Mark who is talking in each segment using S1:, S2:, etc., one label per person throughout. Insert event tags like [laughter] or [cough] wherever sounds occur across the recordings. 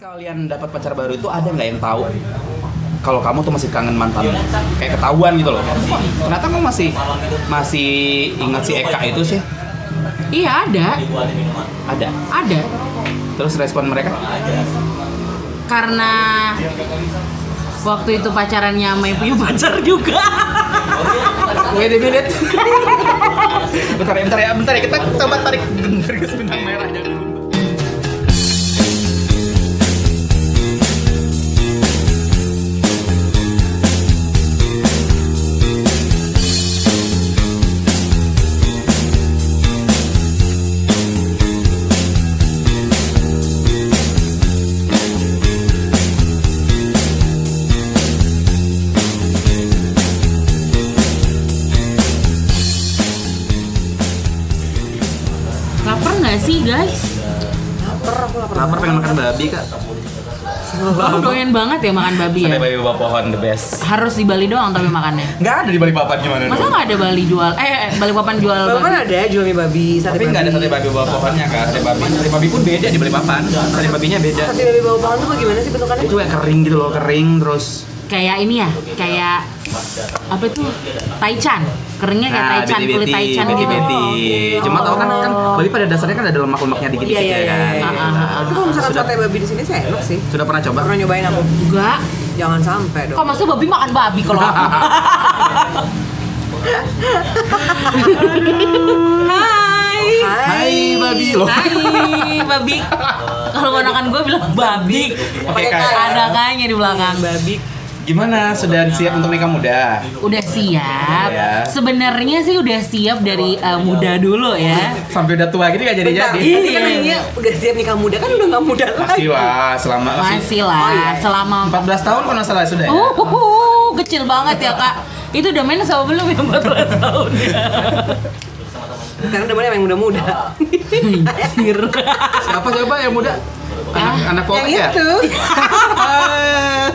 S1: kalian dapat pacar baru itu ada nggak yang tahu kalau kamu tuh masih kangen mantan kayak ketahuan gitu loh Wah, ternyata kamu masih masih ingat si Eka itu sih
S2: Iya ada,
S1: ada
S2: ada.
S1: terus respon mereka
S2: Karena waktu itu pacarannya sama yang punya pacar juga.
S1: "Ah, wait a minute [laughs] bentar ya bentar ya bentar ya kita coba tarik garis benang merah jangan lupa.
S2: Laper nggak sih guys?
S1: lapar pengen makan babi kak
S2: Aku doyan banget ya makan babi ya.
S1: sampai babi bawah pohon the best
S2: Harus di Bali doang tapi makannya.
S1: nggak ada di balik papan gimana
S2: Masa nggak ada Bali jual? Eh, Bali papan jual
S3: Bapak kan
S2: babi?
S3: ada jual mie babi, sate
S1: tapi nggak ada sate babi bawah pohonnya kak sate babi sate babi pun beda di balik papan sate babinya beda
S3: Sate babi bau pohon tuh gimana sih bentukannya?
S1: itu yang kering gitu loh kering terus
S2: Kayak ini ya, kayak apa tuh? Taichan. Keringnya kayak
S1: Nah,
S2: taichan, kulit taichan
S1: beti,
S2: gitu.
S1: beti. Cuma tau kan kan babi pada dasarnya kan ada lemak-lemaknya dikit-dikit
S3: Iya,
S1: ya
S3: iya,
S1: kan.
S3: iya,
S2: iya.
S1: Nah,
S3: Tapi kalau misalkan
S1: sudah
S3: sate babi di sini saya enak sih.
S1: sudah pernah coba?
S3: Pernah nyobain aku.
S2: Enggak.
S3: Jangan sampai dong.
S2: Kok maksudnya babi makan babi kalau aku? [laughs] Hai.
S3: Hai.
S1: Hai babi loh.
S2: Hai, babi. Kalau ponakan gue bilang babi.
S1: Pakai K.
S2: Ada kayaknya di belakang. Babi.
S1: Gimana? Sudah siap untuk nikah muda?
S2: Udah siap.
S1: Iya.
S2: Sebenarnya sih udah siap dari eh, muda dulu ya.
S1: Sampai udah tua gini gak
S3: Bentar,
S1: jadi-jadi.
S3: Tadi kan nanya udah siap nikah muda kan udah nggak muda lagi.
S1: Masih Iya. lah, selama masih
S2: Masih lah, selama
S1: 14 Oh, iya. tahun kalau nggak salah sudah ya.
S2: Uh, kecil banget ya kak. Itu udah main sama belum ya 14 tahun ya?
S3: Sekarang udah banyak yang muda-muda.
S1: Ah.
S3: [laughs]
S2: Anjir.
S1: Siapa coba yang muda? Anak, anak polres ya?
S3: yang itu.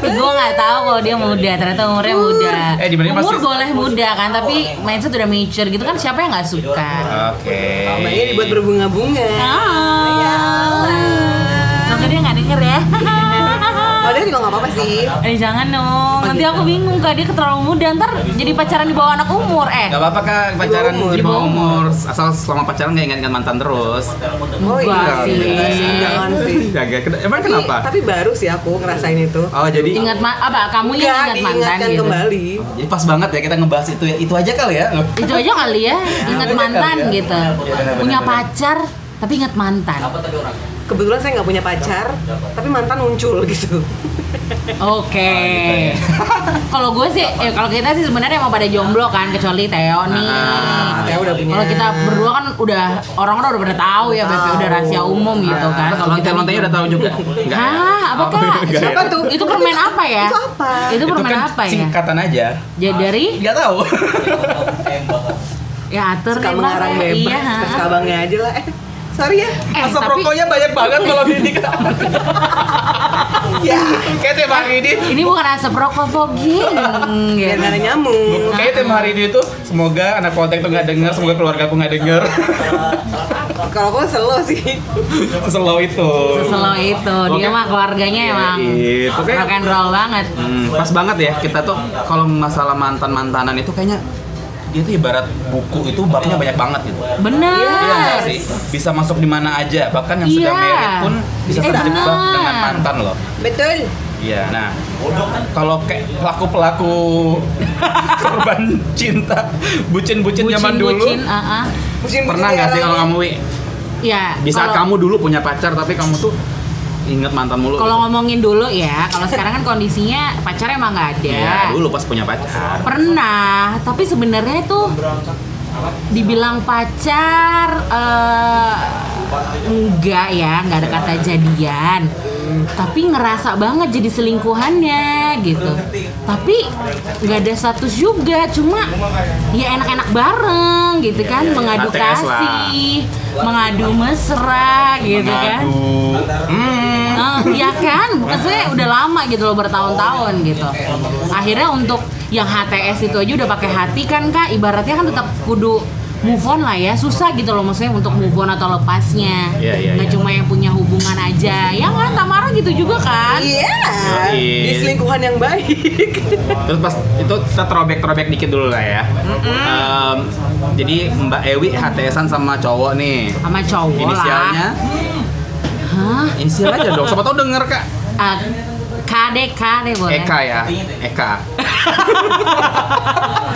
S2: gue nggak tahu kalau dia muda, ternyata umurnya muda.
S1: Eh, dibanding
S2: Umur
S1: pasti-
S2: boleh muda kan, tapi mindset udah mature gitu kan siapa yang nggak suka?
S1: [laughs] Oke.
S3: Banyak dibuat berbunga-bunga.
S2: Ah. Semoga dia nggak denger ya. [laughs]
S3: Padahal juga nggak apa-apa sih.
S2: Eh jangan dong, nanti
S3: gitu.
S2: aku bingung kak dia terlalu muda ntar jadi pacaran di bawah anak umur eh.
S1: Gak apa-apa kak, pacaran
S3: Di bawah umur.
S1: di bawah umur Asal selama pacaran gak ingat-ingat mantan terus
S3: Oh
S2: Enggak
S3: iya,
S2: sih.
S3: enggak sih, jangan sih.
S1: Jaga, Ken- emang
S3: Tapi,
S1: kenapa?
S3: tapi baru sih aku ngerasain itu.
S1: Oh jadi
S2: Ingat ma- apa? Kamu
S3: Enggak,
S2: yang ingat mantan
S3: diingatkan
S2: gitu.
S3: kembali.
S1: Jadi pas banget ya kita ngebahas itu ya. Itu aja kali ya.
S2: Itu aja kali ya, ingat
S1: itu aja
S2: mantan
S1: kali ya.
S2: gitu.
S1: Iya, benar-benar.
S2: Punya pacar tapi ingat mantan.
S3: Kebetulan saya nggak punya pacar, tapi mantan muncul gitu.
S2: Oke.
S1: Ah, gitu ya.
S2: [laughs] Kalau gue sih, eh, kalau kita sih sebenarnya emang pada jomblo kan, kecuali Theo nih.
S1: Ah,
S3: Theo Nah, udah punya.
S2: Kalau kita berdua kan udah orang-orang udah pada tahu ya, BP udah rahasia umum gitu kan. Kalau kita
S1: Lonte-lontenya Ah, udah tahu juga. Enggak.
S2: Hah, apa kak?
S1: Enggak ya?
S3: Siapa tuh?
S2: Itu permen apa ya?
S3: Itu apa?
S2: Itu permen
S1: kan
S2: apa ya?
S1: Singkatan aja.
S2: Jadi dari
S1: Enggak tahu.
S2: ya atur
S3: Suka
S2: deh, Bang.
S3: mengarang bebas,
S2: Iya.
S3: ke suka abangnya aja lah. Eh, sorry ya.
S2: [laughs] Eh,
S1: Asap
S2: tapi-
S1: rokoknya banyak banget kalau ini kan.
S3: Ya,
S1: Kayak tema hari ini.
S2: Ini bukan asap rokok
S3: [laughs]
S2: fogging.
S3: biar
S2: gitu.
S3: nggak ada nyamuk.
S1: Kayak tema hari ini tuh semoga anak kontak tuh nggak dengar, semoga keluarga aku nggak [laughs] dengar.
S3: Kalau aku selo sih.
S1: Selow itu.
S2: Seselau itu, dia
S1: Oke.
S2: mah keluarganya emang
S1: Iya, pokoknya-
S2: rock and roll banget.
S1: Hmm, pas banget ya kita tuh kalau masalah mantan mantanan itu kayaknya dia tuh ibarat buku itu babnya banyak banget gitu.
S2: Bener.
S1: Iya nggak sih? Bisa masuk di mana aja, bahkan yang sudah
S2: Iya.
S1: merit pun bisa
S2: Bisa.
S1: terjebak
S2: Benar.
S1: dengan mantan loh.
S3: Betul.
S1: Iya. Nah, kalau kayak pelaku-pelaku [laughs] korban cinta, bucin-bucin zaman dulu,
S2: Bucin, uh-uh.
S3: Musim
S1: pernah nggak sih kalau kamu Wi?
S2: Ya.
S1: Di saat
S2: kalau-
S1: kamu dulu punya pacar tapi kamu tuh inget mantan mulu. gitu.
S2: kalau ngomongin dulu ya, kalau sekarang kan kondisinya pacar emang nggak ya? ada.
S1: Iya, dulu pas punya pacar.
S2: Pernah, tapi sebenarnya itu dibilang pacar eh, enggak ya, nggak ada kata jadian. Tapi ngerasa banget jadi selingkuhannya gitu. Tapi nggak ada status juga, cuma ya enak-enak bareng gitu kan, mengadu
S1: HTS lah.
S2: kasih, mengadu mesra gitu kan.
S1: Aduh. Hmm.
S2: Eh, Iya kan, maksudnya udah lama gitu loh bertahun-tahun gitu. Akhirnya untuk yang HTS itu aja udah pakai hati kan kak, ibaratnya kan tetap kudu move on lah ya susah gitu loh maksudnya untuk move on atau lepasnya
S1: Iya, iya,
S2: nggak
S1: iya.
S2: cuma yang punya hubungan aja ya kan Tamara gitu juga kan
S3: Iya.
S1: Yoi.
S3: Di selingkuhan yang
S1: [laughs]
S3: baik.
S1: Terus pas itu kita throwback-throwback dikit dulu lah ya. Em, jadi Mbak Ewi HTSan sama cowok nih.
S2: sama cowok
S1: Inisialnya?
S2: lah Hah?
S1: Inisial aja dong. Siapa tau denger kak?
S2: Ah, KD KD boleh
S1: Eka ya. Eka.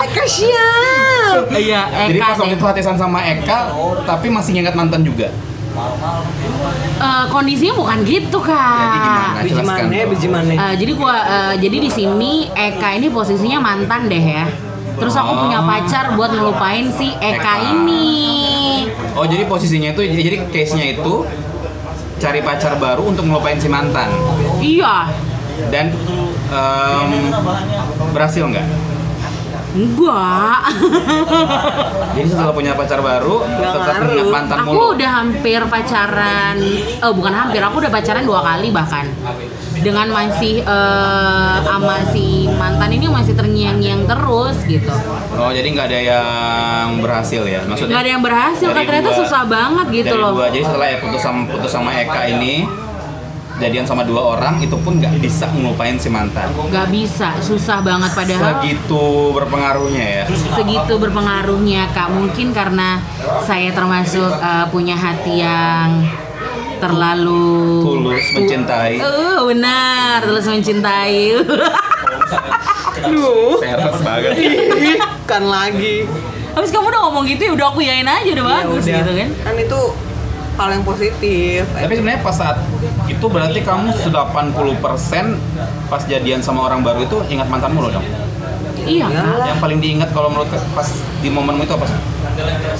S3: Eka siap.
S2: iya
S1: Jadi
S2: Eka
S1: pas waktu
S2: deh.
S1: itu HTSan sama Eka, tapi masih ngingat mantan juga.
S2: Eh, kondisinya bukan gitu
S1: Jadi gimana? Nah,
S2: kak
S3: Biji
S1: Jelaskan.
S3: mana, ya, biji mana.
S2: Eh, jadi gua eh, jadi di sini Eka ini posisinya mantan deh ya terus aku punya pacar buat ngelupain si
S1: Oh. Eka.
S2: Eka ini
S1: Oh jadi posisinya itu jadi case-nya itu cari pacar baru untuk ngelupain si mantan
S2: iya
S1: dan em, berhasil nggak?
S2: enggak
S1: Jadi setelah punya pacar baru
S3: Nggak
S1: tetap
S3: ngaruh.
S1: ingat mantan
S2: aku
S1: mulu.
S2: udah hampir pacaran eh bukan hampir aku udah pacaran dua kali bahkan dengan masih eh sama si mantan ini masih terngiang-ngiang terus gitu
S1: Oh jadi nggak ada yang berhasil ya maksudnya?
S2: nggak ada yang berhasil
S1: Dari
S2: Kak. ternyata
S1: dua-
S2: susah banget gitu
S1: dari
S2: loh
S1: dua. Jadi setelah ya putus sama putus sama Eka ini jadian sama dua orang itu pun nggak bisa ngelupain si mantan.
S2: nggak bisa susah banget padahal
S1: Segitu berpengaruhnya ya.
S2: segitu berpengaruhnya kak mungkin karena saya termasuk eh, punya hati yang terlalu
S1: Tulus mencintai.
S2: Eh, benar tulus mencintai [laughs]
S3: Duh.
S1: Peres banget.
S3: Ih, Kan lagi.
S2: Habis kamu udah ngomong gitu ya udah aku yain aja udah
S3: Ya
S2: bagus
S3: udah.
S2: gitu kan.
S3: Kan itu hal yang positif.
S1: Tapi sebenarnya pas saat itu berarti kamu sudah 80% pas jadian sama orang baru itu ingat mantanmu loh dong.
S2: Iya kak.
S3: Iyalah.
S1: Yang paling diingat kalau menurut ke- pas di momenmu itu apa sih?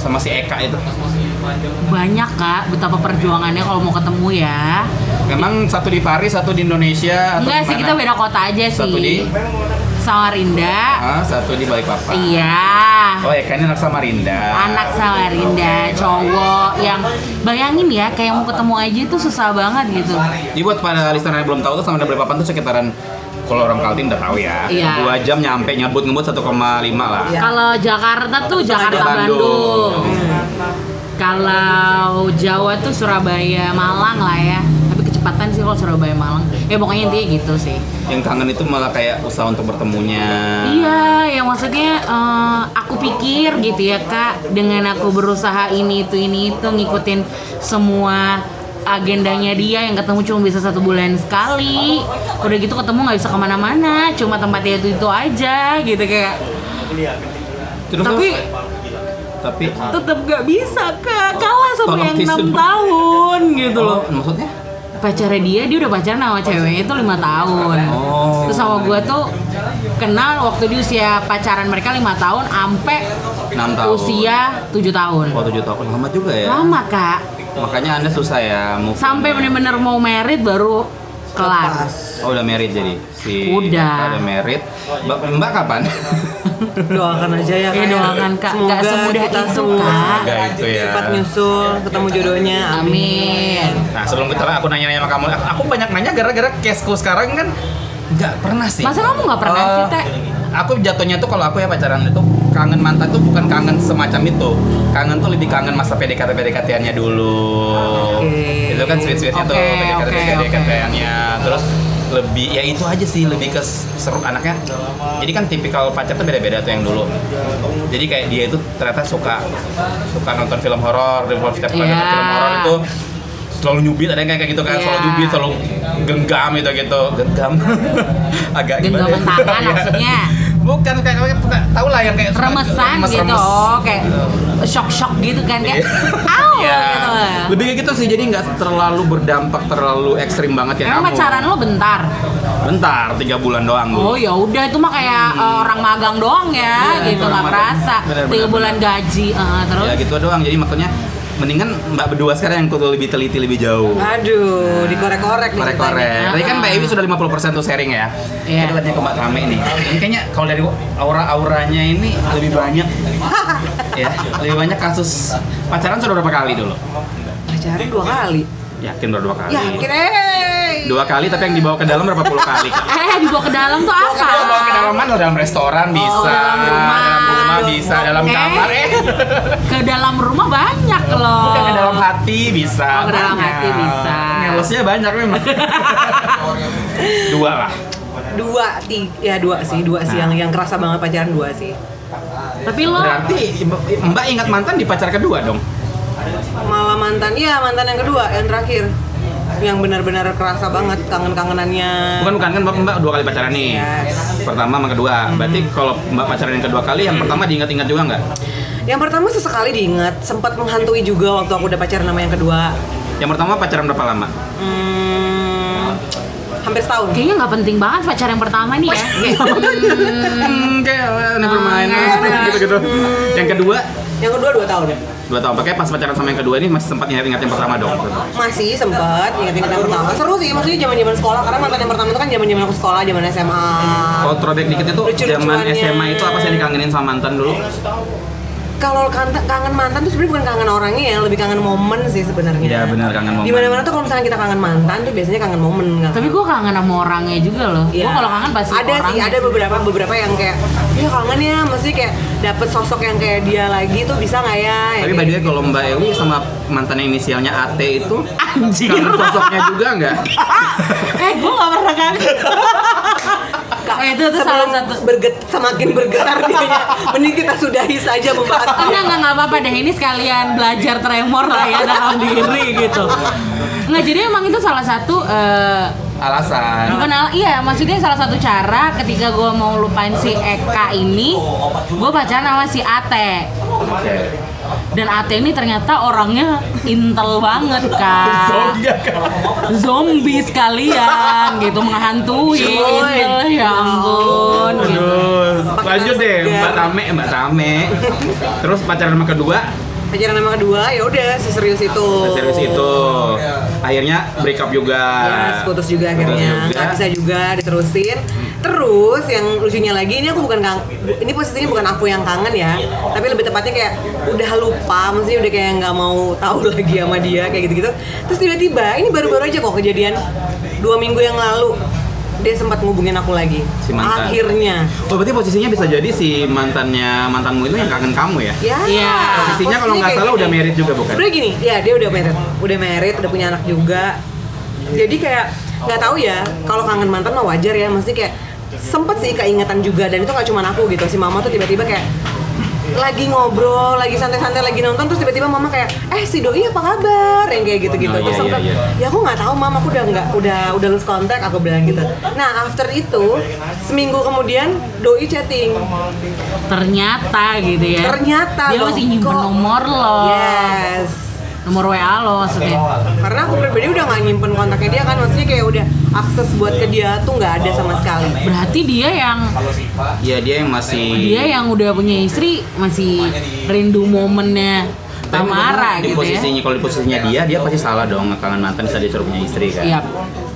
S1: Sama si Eka itu.
S2: Banyak kak betapa perjuangannya kalau mau ketemu ya.
S1: Memang satu di Paris, satu di Indonesia atau
S2: Enggak
S1: di
S2: sih
S1: mana?
S2: kita beda kota aja sih.
S1: Satu di
S2: Samarinda.
S1: Ah, satu di Balikpapan.
S2: Iya.
S1: Oh, Eka ini anak Samarinda.
S2: Anak Samarinda, cowok yang bayangin ya kayak mau ketemu aja itu susah banget gitu.
S1: Jadi buat para listener yang belum tahu tuh Samarinda Balikpapan tuh sekitaran kalau orang Kaltim udah tahu ya.
S2: Iya.
S1: Dua jam nyampe nyabut ngebut 1,5 lah.
S3: Iya.
S2: Kalau Jakarta tuh Jakarta
S1: Bandung.
S2: Bandung. Kalau Jawa tuh Surabaya Malang lah ya. Tapi kecepatan sih kalau Surabaya Malang. Ya pokoknya intinya gitu sih.
S1: Yang kangen itu malah kayak usaha untuk bertemunya.
S2: Iya, yang maksudnya eh, aku pikir gitu ya kak, dengan aku berusaha ini itu ini itu ngikutin semua agendanya dia yang ketemu cuma bisa satu bulan sekali. Udah gitu ketemu nggak bisa kemana-mana, cuma tempatnya itu itu aja gitu kayak.
S1: Terus
S2: Tapi
S1: tapi
S2: tetap nggak bisa kak, kalah sama
S1: Tolong
S2: yang
S1: tisu
S2: enam
S1: dulu.
S2: tahun gitu loh.
S1: Oh, maksudnya?
S2: pacarnya dia dia udah pacaran sama ceweknya itu lima tahun
S1: Oh.
S2: terus sama gue tuh kenal waktu di usia pacaran mereka lima tahun ampe
S1: 6 tahun.
S2: usia tujuh tahun
S1: Oh, 7 tahun lama juga ya.
S2: lama kak
S1: Makanya Anda susah ya move
S2: sampai
S1: on-nya.
S2: bener-bener mau merit baru kelar
S1: Oh, udah married jadi. Si
S2: Udah.
S1: Eka Udah married. Mbak, Mbak kapan? [laughs]
S3: Doakan aja ya.
S2: Ya,
S3: Kak.
S2: doakan, Kak.
S3: Semoga
S2: Nggak semudah
S3: kita
S2: itu,
S3: semua
S2: Kak.
S1: Nggak itu ya.
S3: Cepat nyusul, ketemu jodohnya.
S2: amin
S1: Nah, sebelum kita
S2: Iya.
S1: aku nanya-nanya sama kamu. Aku, aku banyak nanya gara-gara cashku sekarang kan nggak pernah sih.
S2: Masa kamu nggak pernah
S1: Eh,
S2: sih, Teh?
S1: Aku jatuhnya tuh kalau aku ya pacaran itu kangen mantan tuh bukan kangen semacam itu. Kangen tuh lebih kangen masa PDKT PDKT-annya dulu.
S3: Oke.
S1: Itu kan sweet-sweetnya tuh
S2: Oke,
S1: PDKT
S2: oke,
S1: PDKT-annya. Terus lebih ya itu aja sih lebih ke seru anaknya. Jadi kan tipikal pacar tuh beda-beda tuh yang dulu. Jadi kayak dia itu ternyata suka suka nonton film horor, dia suka nonton
S2: Iya.
S1: film horor itu selalu nyubit ada yang kayak kayak gitu kan selalu
S2: Iya.
S1: nyubit selalu genggam gitu gitu genggam [laughs] agak gimana ya?
S2: genggaman tangan
S1: Iya.
S2: kan maksudnya
S1: bukan kayak kayak kayak- tau lah yang kayak
S2: remesan
S1: remes-
S2: gitu
S1: remes.
S2: oh, kayak shock-shock gitu kan kayak au
S1: Iya.
S2: gitu
S1: lebih kayak gitu sih jadi nggak terlalu berdampak terlalu ekstrim banget ya
S2: Emang pacaran lo bentar?
S1: bentar tiga bulan doang Bu.
S2: Oh ya udah itu mah kayak eh, orang magang doang ya,
S1: Hmm. Iya,
S2: gitu
S1: itu orang
S2: nggak
S1: magang.
S2: kerasa.
S1: Benar,
S2: Tiga
S1: benar,
S2: bulan gaji eh, terus.
S1: ya gitu doang jadi makanya mendingan mbak berdua sekarang yang kudu lebih teliti lebih jauh
S3: Aduh, dikorek-korek nih ceritanya.
S1: korek-korek. Tadi kan Mbak Ewi sudah 50% tuh sharing ya.
S2: Iya.
S1: Kita tanya ke Mbak Kame nih. Ini kayaknya kalau dari aura-auranya ini lebih
S2: [laughs]
S1: banyak. ya, lebih banyak kasus pacaran sudah berapa kali dulu?
S3: Pacaran dua kali. Ya,
S2: Ya,
S1: Yakin baru dua kali.
S3: Yakin eh
S1: dua kali tapi yang dibawa ke dalam berapa puluh
S2: [laughs]
S1: kali Kak?
S2: Eh, dibawa ke dalam tuh apa?
S1: Dibawa ke dalam mana? Dalam restoran bisa,
S2: Oh, dalam rumah.
S1: dalam rumah bisa, dalam
S2: Eh.
S1: kamar eh
S2: Ke dalam rumah banyak loh.
S1: bukan ke [laughs] dalam hati bisa.
S2: Oh, ke dalam
S1: banyak.
S2: hati bisa.
S1: Ngelesnya banyak
S2: [laughs]
S1: memang. dua lah.
S3: dua tiga ya dua sih dua sih yang yang kerasa banget pacaran dua sih
S2: Tapi lo
S1: Berarti Mbak ingat mantan di pacar kedua dong.
S3: malah mantan iya mantan yang kedua yang terakhir yang benar-benar kerasa banget kangen-kangenannya
S1: Bukan bukan kan Mbak, Mbak dua kali pacaran nih.
S3: Yes.
S1: Pertama sama kedua. Berarti kalau Mbak pacaran yang kedua kali yang pertama diingat-ingat juga nggak?
S3: yang pertama sesekali diingat sempat menghantui juga waktu aku udah pacaran sama yang kedua
S1: Yang pertama pacaran berapa lama?
S3: hmm, hampir setahun
S2: kayaknya nggak penting banget pacar yang pertama
S1: [laughs]
S2: nih ya. Kayak,
S1: Hmm, kayak eh, never mind [laughs]
S2: Hmm.
S1: gitu-gitu. Gitu, Yang kedua
S3: yang kedua dua tahun
S1: dua tahun pakai pas pacaran sama yang kedua ini masih sempat ingat-ingat yang pertama dong.
S3: masih sempat ingat-ingat yang pertama seru sih maksudnya zaman-zaman sekolah karena mantan yang pertama itu kan zaman-zaman aku sekolah zaman SMA
S1: Kalau throwback dikit itu zaman
S3: Lucu-lucuannya.
S1: SMA itu apa sih yang dikangenin sama mantan dulu?
S3: kalau kangen, kangen mantan tuh sebenarnya bukan kangen orangnya ya lebih kangen momen sih sebenarnya
S1: Iya benar kangen momen.
S3: di mana mana tuh kalau misalnya kita kangen mantan tuh biasanya kangen momen kangen-
S2: Tapi gue kangen sama orangnya juga loh.
S3: Iya.
S2: Gue kalau kangen pasti
S3: ada sih
S2: orangnya
S3: ada beberapa beberapa yang kayak ya kangen ya maksudnya kayak dapet sosok yang kayak dia lagi tuh bisa nggak ya Ya
S1: Tapi by
S3: kayak-
S1: the way, kalau Mbak Ewi sama mantan yang inisialnya AT itu
S2: Anjir.
S1: kangen sosoknya juga nggak?
S2: eh, gue nggak pernah kangen.
S3: Kak,
S2: Eh, itu- itu salah
S3: sebelum
S2: satu.
S3: berget- semakin bergetar dia mending kita sudahi saja membahas
S2: Enggak, enggak, enggak apa-apa deh. Ini sekalian belajar tremor lah ya dalam diri gitu. Nggak, jadi emang itu salah satu eh,
S1: Alasan.
S2: bukan al- iya maksudnya salah satu cara ketika gue mau lupain si Eka ini gue pacaran sama si Ate
S1: Oke.
S2: dan Ate ini ternyata orangnya intel banget kak zombie sekalian gitu menghantui
S3: Cuy.
S2: intel ya ampun gitu.
S1: Aduh,
S3: Pakai
S1: lanjut
S3: nasi
S1: deh
S3: segar.
S1: Mbak Tame, Mbak Tame. Terus pacaran sama kedua,
S3: pacaran sama kedua ya udah seserius itu
S1: serius itu. Akhirnya break up juga.
S3: Ya, putus
S1: Ah.
S3: juga
S1: Putus
S3: akhirnya
S1: juga.
S3: nggak bisa juga diterusin terus yang lucunya lagi ini aku bukan kang ini posisinya bukan aku yang kangen ya tapi lebih tepatnya kayak udah lupa maksudnya udah kayak nggak mau tahu [laughs] lagi sama dia kayak gitu gitu terus tiba-tiba ini baru-baru aja kok kejadian dua minggu yang lalu dia sempat ngubungin aku lagi
S1: Si mantan.
S3: akhirnya
S1: Oh, berarti posisinya bisa jadi si mantannya mantanmu itu yang kangen kamu ya?
S3: ya
S2: Iya.
S1: Posisinya kalau nggak
S3: kayak gitu.
S1: salah
S3: gini.
S1: udah married juga bukan?
S3: sebenarnya gini ya dia udah married udah married udah punya anak juga jadi kayak nggak tahu ya kalau kangen mantan mah wajar ya mesti kayak sempet sih keingetan juga dan itu nggak cuma aku gitu si mama tuh tiba-tiba kayak lagi ngobrol, lagi santai-santai, lagi nonton terus tiba-tiba mama kayak eh si doi apa kabar yang kayak gitu-gitu
S1: Oh, iya,
S3: terus
S1: iya,
S3: sempet,
S1: iya.
S3: ya aku nggak tahu mam aku udah nggak udah udah lose kontak aku bilang gitu nah after itu seminggu kemudian doi chatting
S2: ternyata gitu ya
S3: Ternyata
S2: dia
S3: loh,
S2: masih nyimpen
S3: kok.
S2: nomor lo
S3: yes
S2: nomor WA lo maksudnya
S3: karena aku pribadi udah nggak nyimpen kontaknya dia kan maksudnya kayak udah akses buat ke dia tuh nggak ada sama sekali
S2: berarti dia yang
S1: Iya, dia yang masih
S2: dia yang udah punya istri masih rindu momennya
S1: Tapi ngomong
S2: Tamara
S1: di
S2: gitu ya
S1: posisinya kalau di posisinya dia dia pasti salah dong kangen mantan bisa disuruh punya istri kan
S2: Yap.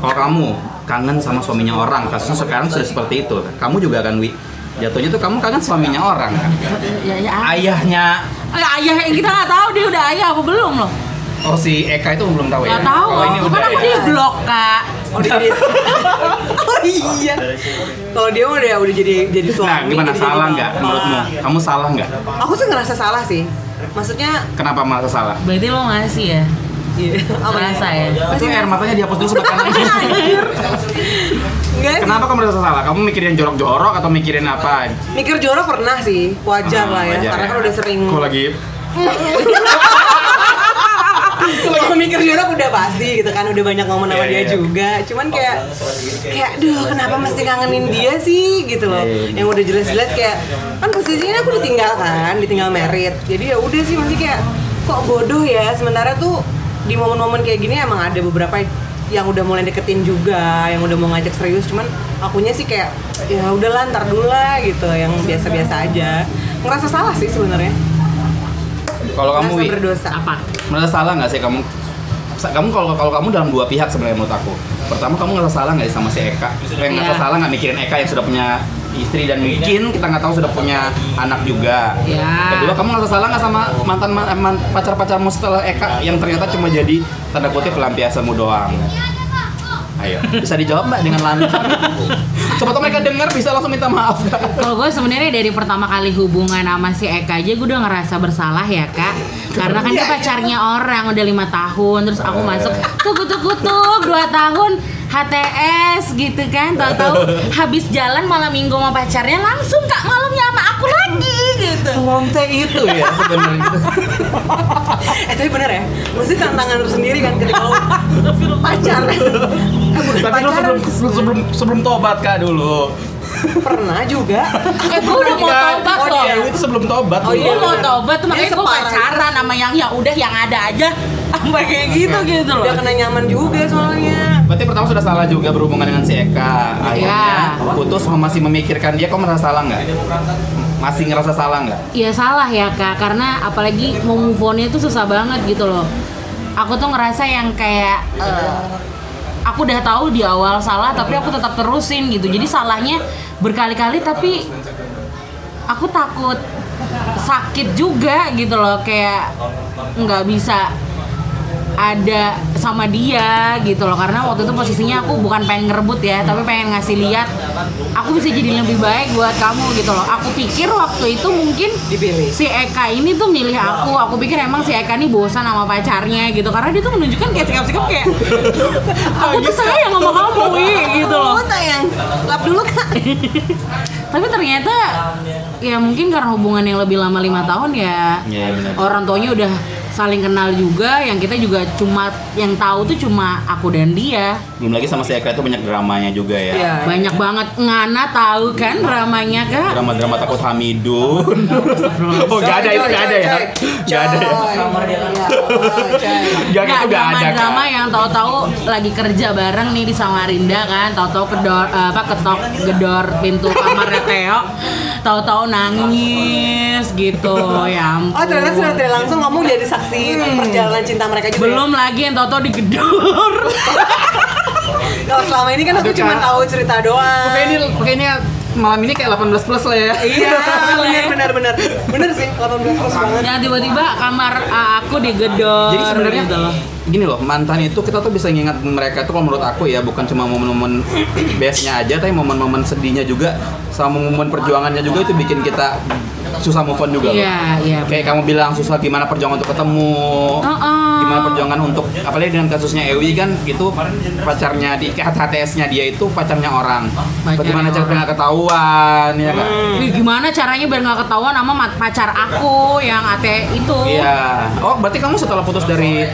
S1: kalau kamu kangen sama suaminya orang kasusnya sekarang sudah seperti itu kamu juga kan wi jatuhnya tuh kamu kangen suaminya orang kan?
S2: ya, ya.
S1: ayahnya
S2: Eh, ayah yang kita nggak tahu dia udah ayah apa belum loh
S1: oh si Eka itu belum tahu ya
S2: nggak tahu
S1: Oh, ini
S2: kan
S1: udah
S2: aku
S1: ya.
S2: di blok kak
S3: oh, dia, dia- [laughs] oh iya kalau dia udah udah jadi jadi suami
S1: nah gimana
S3: jadi- jadi
S1: salah
S3: bapak.
S1: nggak menurutmu kamu salah nggak
S3: aku sih ngerasa salah sih maksudnya
S1: kenapa merasa salah
S2: berarti lo ngasih ya
S3: iya, apa ya?
S2: ngerasa ya
S1: itu air matanya dihapus dulu sebelah
S3: Iya,
S1: kanan
S3: Nggak sih.
S1: kenapa kamu merasa salah kamu mikirin jorok-jorok atau mikirin apa
S3: mikir jorok pernah sih wajar lah
S1: Hmm,
S3: ya
S1: Wajar
S3: karena kan udah sering
S1: Kok lagi
S3: Kalau mikir jorok udah pasti gitu kan udah banyak ngomong sama
S1: Iya,
S3: dia
S1: iya.
S3: juga. Cuman kayak kayak aduh kenapa mesti kangenin dia sih gitu loh.
S1: Iya, iya.
S3: Yang udah jelas-jelas kayak kan posisinya aku ditinggal kan, ditinggal merit. Jadi ya udah sih mesti kayak kok bodoh ya sementara tuh di momen-momen kayak gini emang ada beberapa yang udah mulai deketin juga, yang udah mau ngajak serius, cuman akunya sih kayak ya udah lantar dulu lah gitu, yang biasa-biasa aja. Ngerasa salah sih sebenarnya.
S1: kalau kamu
S3: Ngerasa
S1: wi
S3: berdosa.
S2: apa
S1: merasa salah nggak sih kamu sa- kamu kalau kalau kamu dalam dua pihak sebenarnya menurut aku pertama kamu ngerasa salah nggak sih sama si Eka yang
S2: Iya.
S1: ngerasa salah nggak mikirin Eka yang sudah punya istri dan mungkin kita nggak tahu sudah punya anak juga
S2: Iya.
S1: kedua kamu ngerasa salah nggak sama mantan ma- eh, man- pacar pacarmu setelah Eka yang ternyata cuma jadi tanda kutip pelampiasanmu doang Ayo, bisa dijawab mbak dengan lantang. Coba tau mereka denger bisa langsung minta maaf.
S2: Kalau gue sebenarnya dari pertama kali hubungan sama si Eka aja gue udah ngerasa bersalah ya kak Karena kan dia pacarnya orang udah lima tahun Terus aku masuk tukutuk-kutuk dua tahun HTS gitu kan Tahu-tahu habis jalan malam minggu sama pacarnya langsung kak malamnya sama aku lagi gitu
S1: Lonte itu ya [laughs] sebenarnya.
S3: eh tapi bener ya mesti tantangan lu sendiri kan ketika lu [laughs] pacar eh bukan
S1: Tapi lu
S3: pacaran
S1: sebelum, sebelum sebelum tobat kak dulu.
S3: pernah juga
S2: Eh gue udah mau
S1: Enggak,
S2: tobat
S1: oh,
S2: loh
S1: iya, itu sebelum tobat.
S3: Oh,
S1: dulu.
S2: Gue
S3: iya.
S2: mau tobat tuh makanya
S3: Jadi
S2: gue
S3: separah itu.
S2: pacaran sama yang ya udah yang ada aja [laughs] Sampai kayak gitu gitu loh
S3: udah kena nyaman juga soalnya
S1: Berarti pertama sudah salah juga berhubungan dengan si Eka. Akhirnya
S2: Iya.
S1: putus sama masih memikirkan dia. Kok merasa salah nggak? Masih ngerasa salah nggak?
S2: Iya salah ya kak, karena apalagi mau move on-nya tuh susah banget gitu loh. Aku tuh ngerasa yang kayak eh, aku udah tahu di awal salah, tapi aku tetap terusin gitu. Jadi salahnya berkali-kali, tapi aku takut sakit juga gitu loh, kayak nggak bisa ada sama dia gitu loh karena waktu itu posisinya aku bukan pengen ngerebut ya tapi pengen ngasih lihat aku bisa jadi lebih baik buat kamu gitu loh aku pikir waktu itu mungkin
S3: dipilih
S2: si Eka ini tuh milih aku aku pikir emang si Eka ini bosan sama pacarnya gitu karena dia tuh menunjukkan kayak sikap-sikap kayak aku tuh sayang sama kamu Wi," gitu loh
S3: Oh, tayang lap dulu kak
S2: tapi ternyata ya mungkin karena hubungan yang lebih lama lima tahun ya
S1: Iya benar.
S2: orang tuanya udah saling kenal juga yang kita juga cuma yang tahu tuh cuma aku dan dia
S1: Belum lagi sama si Eka itu banyak dramanya juga ya.
S3: Iya.
S2: banyak banget ngana tahu kan dramanya kak
S1: Drama-drama takut
S2: [laughs]
S1: Hamidun. oh [laughs] nggak ada itu nggak ada ya. Nggak ada ya. Nggak
S2: Nggak,
S1: Iya, itu nggak ada
S2: drama-drama
S1: kak.
S2: yang tahu-tahu lagi kerja bareng nih di Samarinda kan, tahu-tahu kedor eh, apa ketok gedor pintu kamarnya Teo, tahu-tahu nangis gitu, ya ampun.
S3: Oh ternyata sudah tidak langsung ngomong jadi saksi
S1: Hmm.
S3: perjalanan cinta mereka juga. ya?
S2: Belum lagi yang tahu-tahu
S3: [laughs]
S2: digedor.
S3: Kalau selama ini kan aku
S1: Aduh,
S3: cuma
S1: Kak.
S3: tahu cerita doang.
S1: Oke ini kayaknya malam ini kayak 18 plus lah ya.
S3: Iya, benar benar benar. Benar sih, 18 plus banget.
S2: Yang tiba-tiba kamar eh, aku digedor.
S1: Jadi sebenarnya
S2: gitu loh.
S1: gini loh mantan itu kita tuh bisa ngingat mereka tuh kalau menurut aku ya bukan cuma momen-momen bestnya aja tapi momen-momen sedihnya juga sama momen perjuangannya juga itu bikin kita susah move on juga
S2: Iya, iya.
S1: loh. Kayak kamu bilang susah gimana perjuangan untuk ketemu,
S2: Uh-uh.
S1: gimana perjuangan untuk apalagi dengan kasusnya Ewi kan itu pacarnya di HTS-nya dia itu pacarnya orang.
S2: Pacarnya
S1: Bagaimana cara
S2: orang. Hmm.
S1: nggak ketahuan ya kan?
S2: Ih, gimana caranya biar nggak ketahuan sama mat- pacar aku yang ate itu?
S1: Iya. Oh, berarti kamu setelah putus dari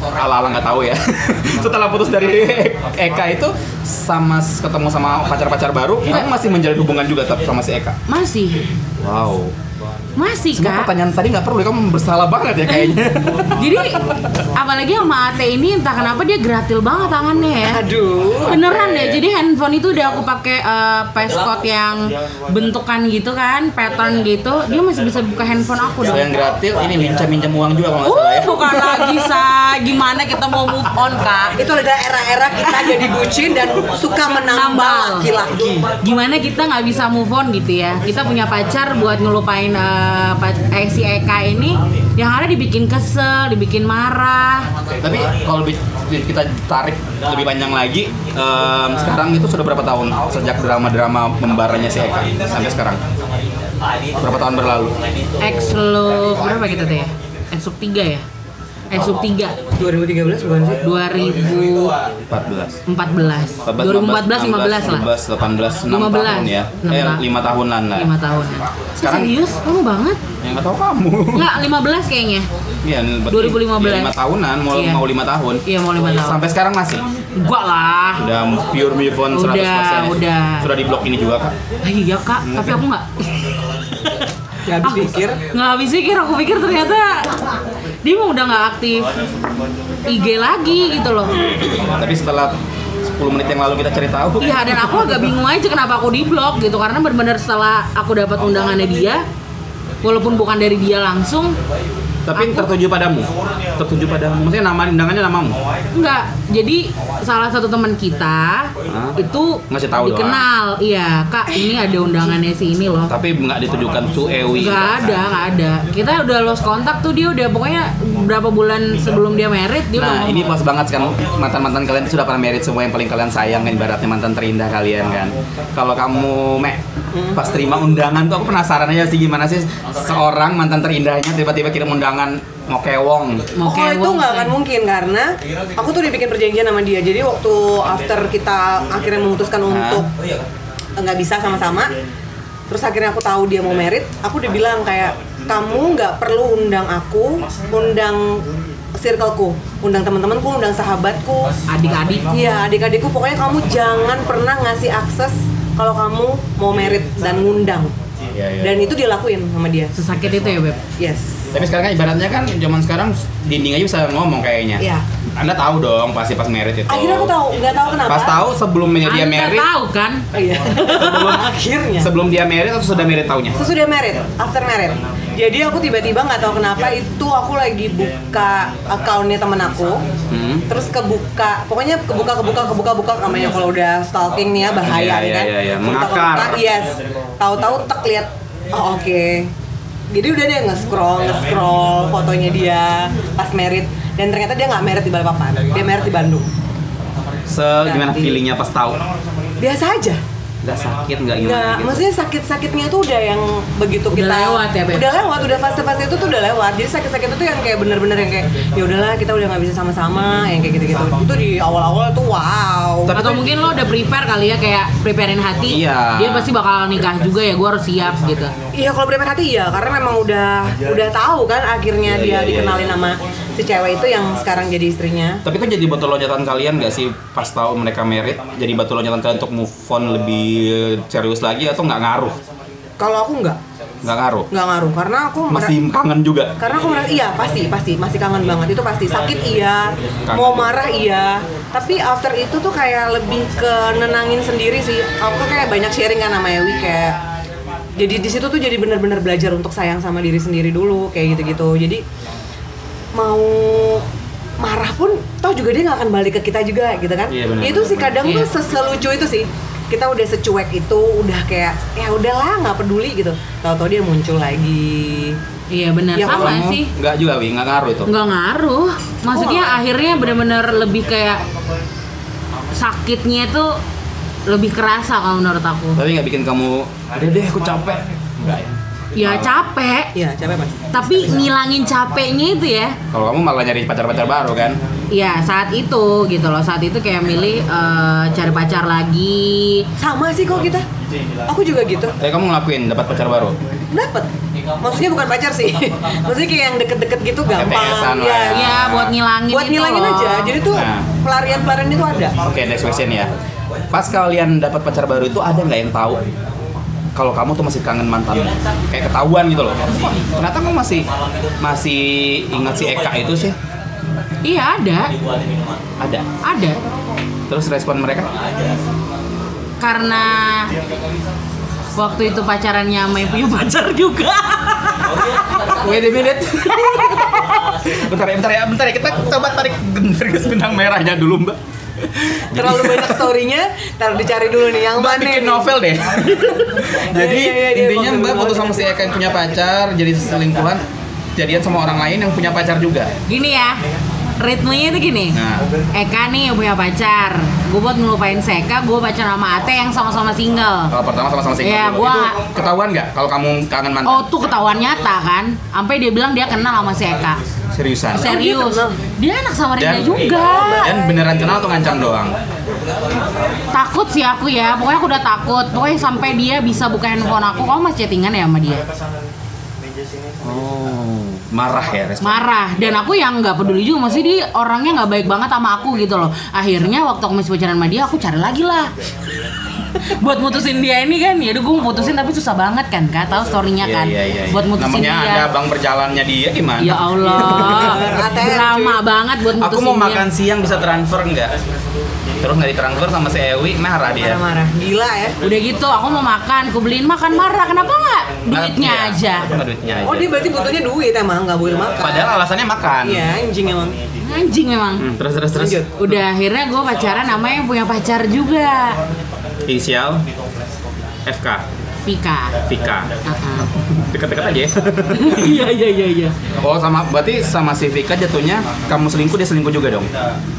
S1: ala-ala nggak tahu ya. [laughs] setelah putus dari Eka itu sama ketemu sama pacar-pacar baru, kamu masih menjalin hubungan juga tetap sama si Eka.
S2: Masih,
S1: Wow.
S2: masih
S1: Semua
S2: kak.
S1: pertanyaan tadi nggak perlu, ya, kamu bersalah banget ya [laughs] kayaknya.
S2: Jadi apalagi sama Ate ini entah kenapa dia gratil banget tangannya ya.
S3: Aduh.
S2: Beneran deh, jadi handphone itu udah aku pakai eh, passcode yang bentukan gitu kan, pattern gitu, dia masih bisa buka handphone aku dong.
S1: Yang gratis ini minjam-minjam uang juga kalau nggak salah
S2: Uh,
S1: ya.
S2: bukan lagi sa, gimana kita mau move on kak?
S3: Itu ada era-era kita jadi bucin dan suka menambah
S2: Nambal.
S3: laki-laki.
S2: Gimana kita nggak bisa move on gitu ya? Kita punya pacar buat ngelupain eh, pac- eh, si Eka ini, yang ada dibikin kesel, dibikin marah.
S1: Tapi kalau bi- kita tarik lebih panjang lagi, em, sekarang itu sudah berapa tahun sejak drama-drama membaranya si Eka sampai sekarang? Berapa tahun berlalu?
S2: X lu berapa kita teh? ya? X sub 3 ya? X sub 3
S3: 2013 bukan sih?
S2: 2014
S1: 14.
S2: 2014 15 lah
S1: 15 16 6 tahun ya
S2: Enam
S1: eh
S2: tahun.
S1: 5 tahunan lah
S2: 5 tahun ya.
S1: Sekarang-
S2: serius kamu banget
S1: yang nggak tahu kamu
S2: Enggak, 15 kayaknya
S1: Iya,
S2: 2015.
S1: 5 tahunan mau
S2: Iya.
S1: mau 5 tahun
S2: Iya mau 5 tahun
S1: sampai sekarang masih
S2: Enggak lah
S1: udah pure move on 100%
S2: Udah, udah.
S1: ya? sudah di blok ini juga kak
S2: Ah, Iya kak, tapi aku
S3: [laughs]
S2: enggak
S3: Gak habis pikir.
S2: Enggak habis pikir, aku pikir ternyata Dia emang udah enggak aktif IG lagi gitu loh
S1: tapi setelah 10 menit yang lalu kita cari tahu
S2: Iya dan aku agak bingung aja kenapa aku di blok gitu Karena bener-bener setelah aku dapat undangannya dia Walaupun bukan dari dia langsung
S1: tapi tertuju padamu tertuju padamu maksudnya nama undangannya namamu
S2: Enggak, jadi salah satu teman kita
S1: Hah?
S2: itu
S1: Ngasih tahu doang.
S2: dikenal, iya kak ini ada undangannya si ini loh.
S1: Tapi nggak ditujukan to Ewi.
S2: Gak ada, gak ada. Kita udah lost kontak tuh dia udah pokoknya berapa bulan sebelum dia merit dia udah
S1: Nah,
S2: ngomong.
S1: ini pas banget kan mantan-mantan kalian sudah pernah merit semua yang paling kalian sayang kan ibaratnya mantan terindah kalian kan. Kalau kamu Mek pas terima undangan tuh aku penasaran aja sih gimana sih seorang mantan terindahnya tiba-tiba kirim undangan mau kewong.
S2: Mau
S3: oh itu
S2: kewong,
S3: nggak akan
S2: say.
S3: mungkin karena aku tuh udah bikin perjanjian sama dia. Jadi waktu after kita akhirnya memutuskan untuk nggak bisa sama-sama, terus akhirnya aku tahu dia mau merit, aku udah bilang kayak kamu nggak perlu undang aku, undang circleku, undang teman-temanku, undang sahabatku,
S2: adik-adik.
S3: Iya, adik-adikku pokoknya kamu jangan pernah ngasih akses kalau kamu mau merit dan ngundang.
S1: Iya, iya.
S3: Dan itu dilakuin sama dia.
S2: Sesakit itu ya beb.
S3: Yes.
S1: Tapi sekarang kan ibaratnya kan zaman sekarang dinding aja bisa ngomong kayaknya.
S3: Iya.
S1: Anda tahu dong pasti pas merit itu.
S3: Akhirnya aku tahu, nggak tahu kenapa.
S1: Pas tahu sebelum dia
S2: Anda
S1: merit,
S2: tahu kan?
S3: Oh, Iya. [laughs] akhirnya.
S1: sebelum dia merit atau sudah merit taunya?
S3: Sesudah merit, after merit. Jadi aku tiba-tiba nggak tahu kenapa
S1: Ya.
S3: itu aku lagi buka akunnya temen aku.
S1: Hmm.
S3: terus kebuka pokoknya kebuka kebuka kebuka buka namanya kalau udah stalking nih ya
S1: Iya,
S3: bahaya nih
S1: iya, iya,
S3: kan
S1: iya.
S3: Kebuka,
S1: Mengakar.
S3: kebuka, yes tahu-tahu tek lihat oh, oke jadi udah deh nge-scroll
S1: Ya.
S3: nge-scroll fotonya dia pas merit dan ternyata dia nggak merit di Balikpapan dia merit di Bandung
S1: Se gimana feelingnya pas tahu?
S3: biasa aja
S1: Nggak sakit nggak gimana
S3: nggak
S1: gitu.
S3: maksudnya sakit-sakitnya tuh udah yang begitu
S2: Udah
S3: kita
S2: lewat ya, Beb?
S3: udah lewat udah fase-fase itu tuh udah lewat jadi sakit-sakit itu tuh yang kayak bener-bener yang kayak ya udahlah kita udah nggak bisa sama-sama yang kayak gitu-gitu itu di awal-awal tuh wow
S1: Tapi
S2: Atau
S1: kan-
S2: mungkin lo udah prepare kali ya kayak preparein hati.
S1: Iya.
S2: Dia pasti bakal nikah juga ya, gue harus siap gitu.
S3: Iya kalau berempat hati iya karena memang udah udah tahu kan
S1: Iya,
S3: akhirnya dia
S1: iya,
S3: dikenalin
S1: iya.
S3: sama si cewek itu yang sekarang jadi istrinya.
S1: Tapi itu jadi batu loncatan kalian gak sih pas tahu mereka merit? Jadi batu loncatan kalian untuk move on lebih serius lagi atau nggak ngaruh?
S3: Kalau aku nggak
S1: Nggak ngaruh.
S3: nggak ngaruh karena aku mer-
S1: Masih kangen juga.
S3: karena aku merasa iya pasti pasti masih kangen banget itu pasti sakit iya
S1: Kangen.
S3: mau marah iya tapi after itu tuh kayak lebih ke nenangin sendiri sih aku kayak banyak sharing kan sama Ewi kayak jadi di situ tuh jadi bener-bener belajar untuk sayang sama diri sendiri dulu kayak gitu-gitu jadi mau marah pun toh juga dia nggak akan balik ke kita juga gitu kan
S1: Iya, benar,
S3: Ya itu
S1: benar,
S3: sih kadang
S2: benar.
S3: tuh seselucu itu sih kita udah secuek itu udah kayak ya udahlah nggak peduli gitu tahu-tahu dia muncul lagi
S2: Iya benar
S3: Ya,
S2: sama
S1: Kamu
S2: sih.
S1: Hmm, Nggak juga, Wi. Nggak ngaruh itu.
S2: nggak ngaruh maksudnya akhirnya benar-benar lebih kayak sakitnya itu lebih kerasa kalau menurut aku
S1: Tapi nggak bikin kamu, udah deh aku capek. Nggak ya?
S2: ya capek
S3: ya capek mas
S2: tapi ngilangin capeknya itu ya
S1: Kalau kamu malah nyari pacar-pacar baru kan?
S2: ya saat itu gitu loh saat itu kayak milih eh, cari pacar lagi
S3: sama sih kok kita aku juga gitu
S1: Tapi kamu ngelakuin dapat pacar baru.
S3: dapet maksudnya bukan pacar sih [laughs] maksudnya kayak yang deket-deket gitu
S1: PPS-an lah ya.
S3: gampang ya
S2: ya buat ngilangin
S3: buat
S2: itu
S3: ngilangin
S2: loh.
S3: aja jadi tuh
S1: Nah.
S3: pelarian-pelarian itu ada
S1: Oke, next question ya. Pas kalian dapat pacar baru itu ada nggak yang tahu kalau kamu tuh masih kangen mantanmu? Kayak ketahuan gitu loh. Wah, ternyata kamu masih masih ingat si Eka itu sih?
S2: iya ada
S1: Ada.
S2: ada
S1: Terus respon mereka?
S2: karena waktu itu pacarannya sama yang punya pacar juga [laughs]
S1: Wait a minute. [laughs] bentar ya, bentar ya, bentar ya. Kita coba tarik genderges benang merahnya dulu, Mbak.
S3: terlalu banyak storynya ntar dicari dulu nih yang
S1: [laughs] Mbak
S3: mana
S1: bikin
S3: nih?
S1: novel
S3: [laughs]
S1: deh. [laughs] jadi
S3: Iya, iya, iya,
S1: intinya
S3: iya,
S1: Mbak
S3: iya.
S1: putus sama si Eka yang punya pacar, jadi selingkuhan, jadian sama orang lain yang punya pacar juga.
S2: gini ya ritmenya itu gini
S1: Nah.
S2: Eka nih yang punya pacar gue buat ngelupain si Eka gue pacar sama Ate yang sama-sama single
S1: Kalau pertama sama-sama single
S2: Iya,
S1: dulu.
S2: gua-
S1: Itu ketahuan nggak kalau kamu kangen mantan?
S2: oh tuh ketahuan nyata kan sampai dia bilang dia kenal sama si Eka
S1: Seriusan.
S2: serius dia anak sama
S1: Oh,
S2: Rinda
S1: Dan- Oh,
S2: juga
S1: Dan beneran kenal atau ngancam doang?
S2: takut sih aku ya pokoknya aku udah takut pokoknya sampai dia bisa buka handphone aku kamu masih chattingan ya sama dia
S1: Oh, marah ya respon.
S2: marah dan aku yang nggak peduli juga maksudnya dia orangnya nggak baik banget sama aku gitu loh akhirnya waktu aku masih pacaran sama dia aku cari lagi lah [laughs] buat mutusin dia ini kan ya gue mau putusin tapi susah banget kan kak tahu storynya
S1: Iya,
S2: kan
S1: iya, iya.
S2: buat mutusin
S1: Namanya
S2: dia
S1: ada abang berjalannya dia eh, gimana?
S2: ya Allah
S3: ATM, cuy.
S2: drama banget buat mutusin
S1: Aku mau
S2: dia
S1: makan siang bisa transfer nggak? terus nggak diterangkur sama si Ewi marah dia
S3: marah-marah gila ya
S2: Udah gitu aku mau makan, aku beliin makan marah. Kenapa nggak duitnya
S1: Iya,
S2: aja?
S1: kenapa duitnya aja
S3: oh dia berarti butuhnya duit emang nggak boleh makan
S1: padahal alasannya makan
S3: iya anjing emang
S2: Anjing memang.
S1: Hmm, terus terus terus
S3: Lanjut.
S2: Udah akhirnya gue pacaran sama yang punya pacar juga,
S1: inisial FK [laughs]
S2: Vika.
S1: Vika
S2: Ah-ah.
S1: deket-deket aja
S3: [laughs]
S1: ya
S2: Iya iya iya iya.
S1: oh sama berarti sama si Vika jatuhnya kamu selingkuh dia selingkuh juga dong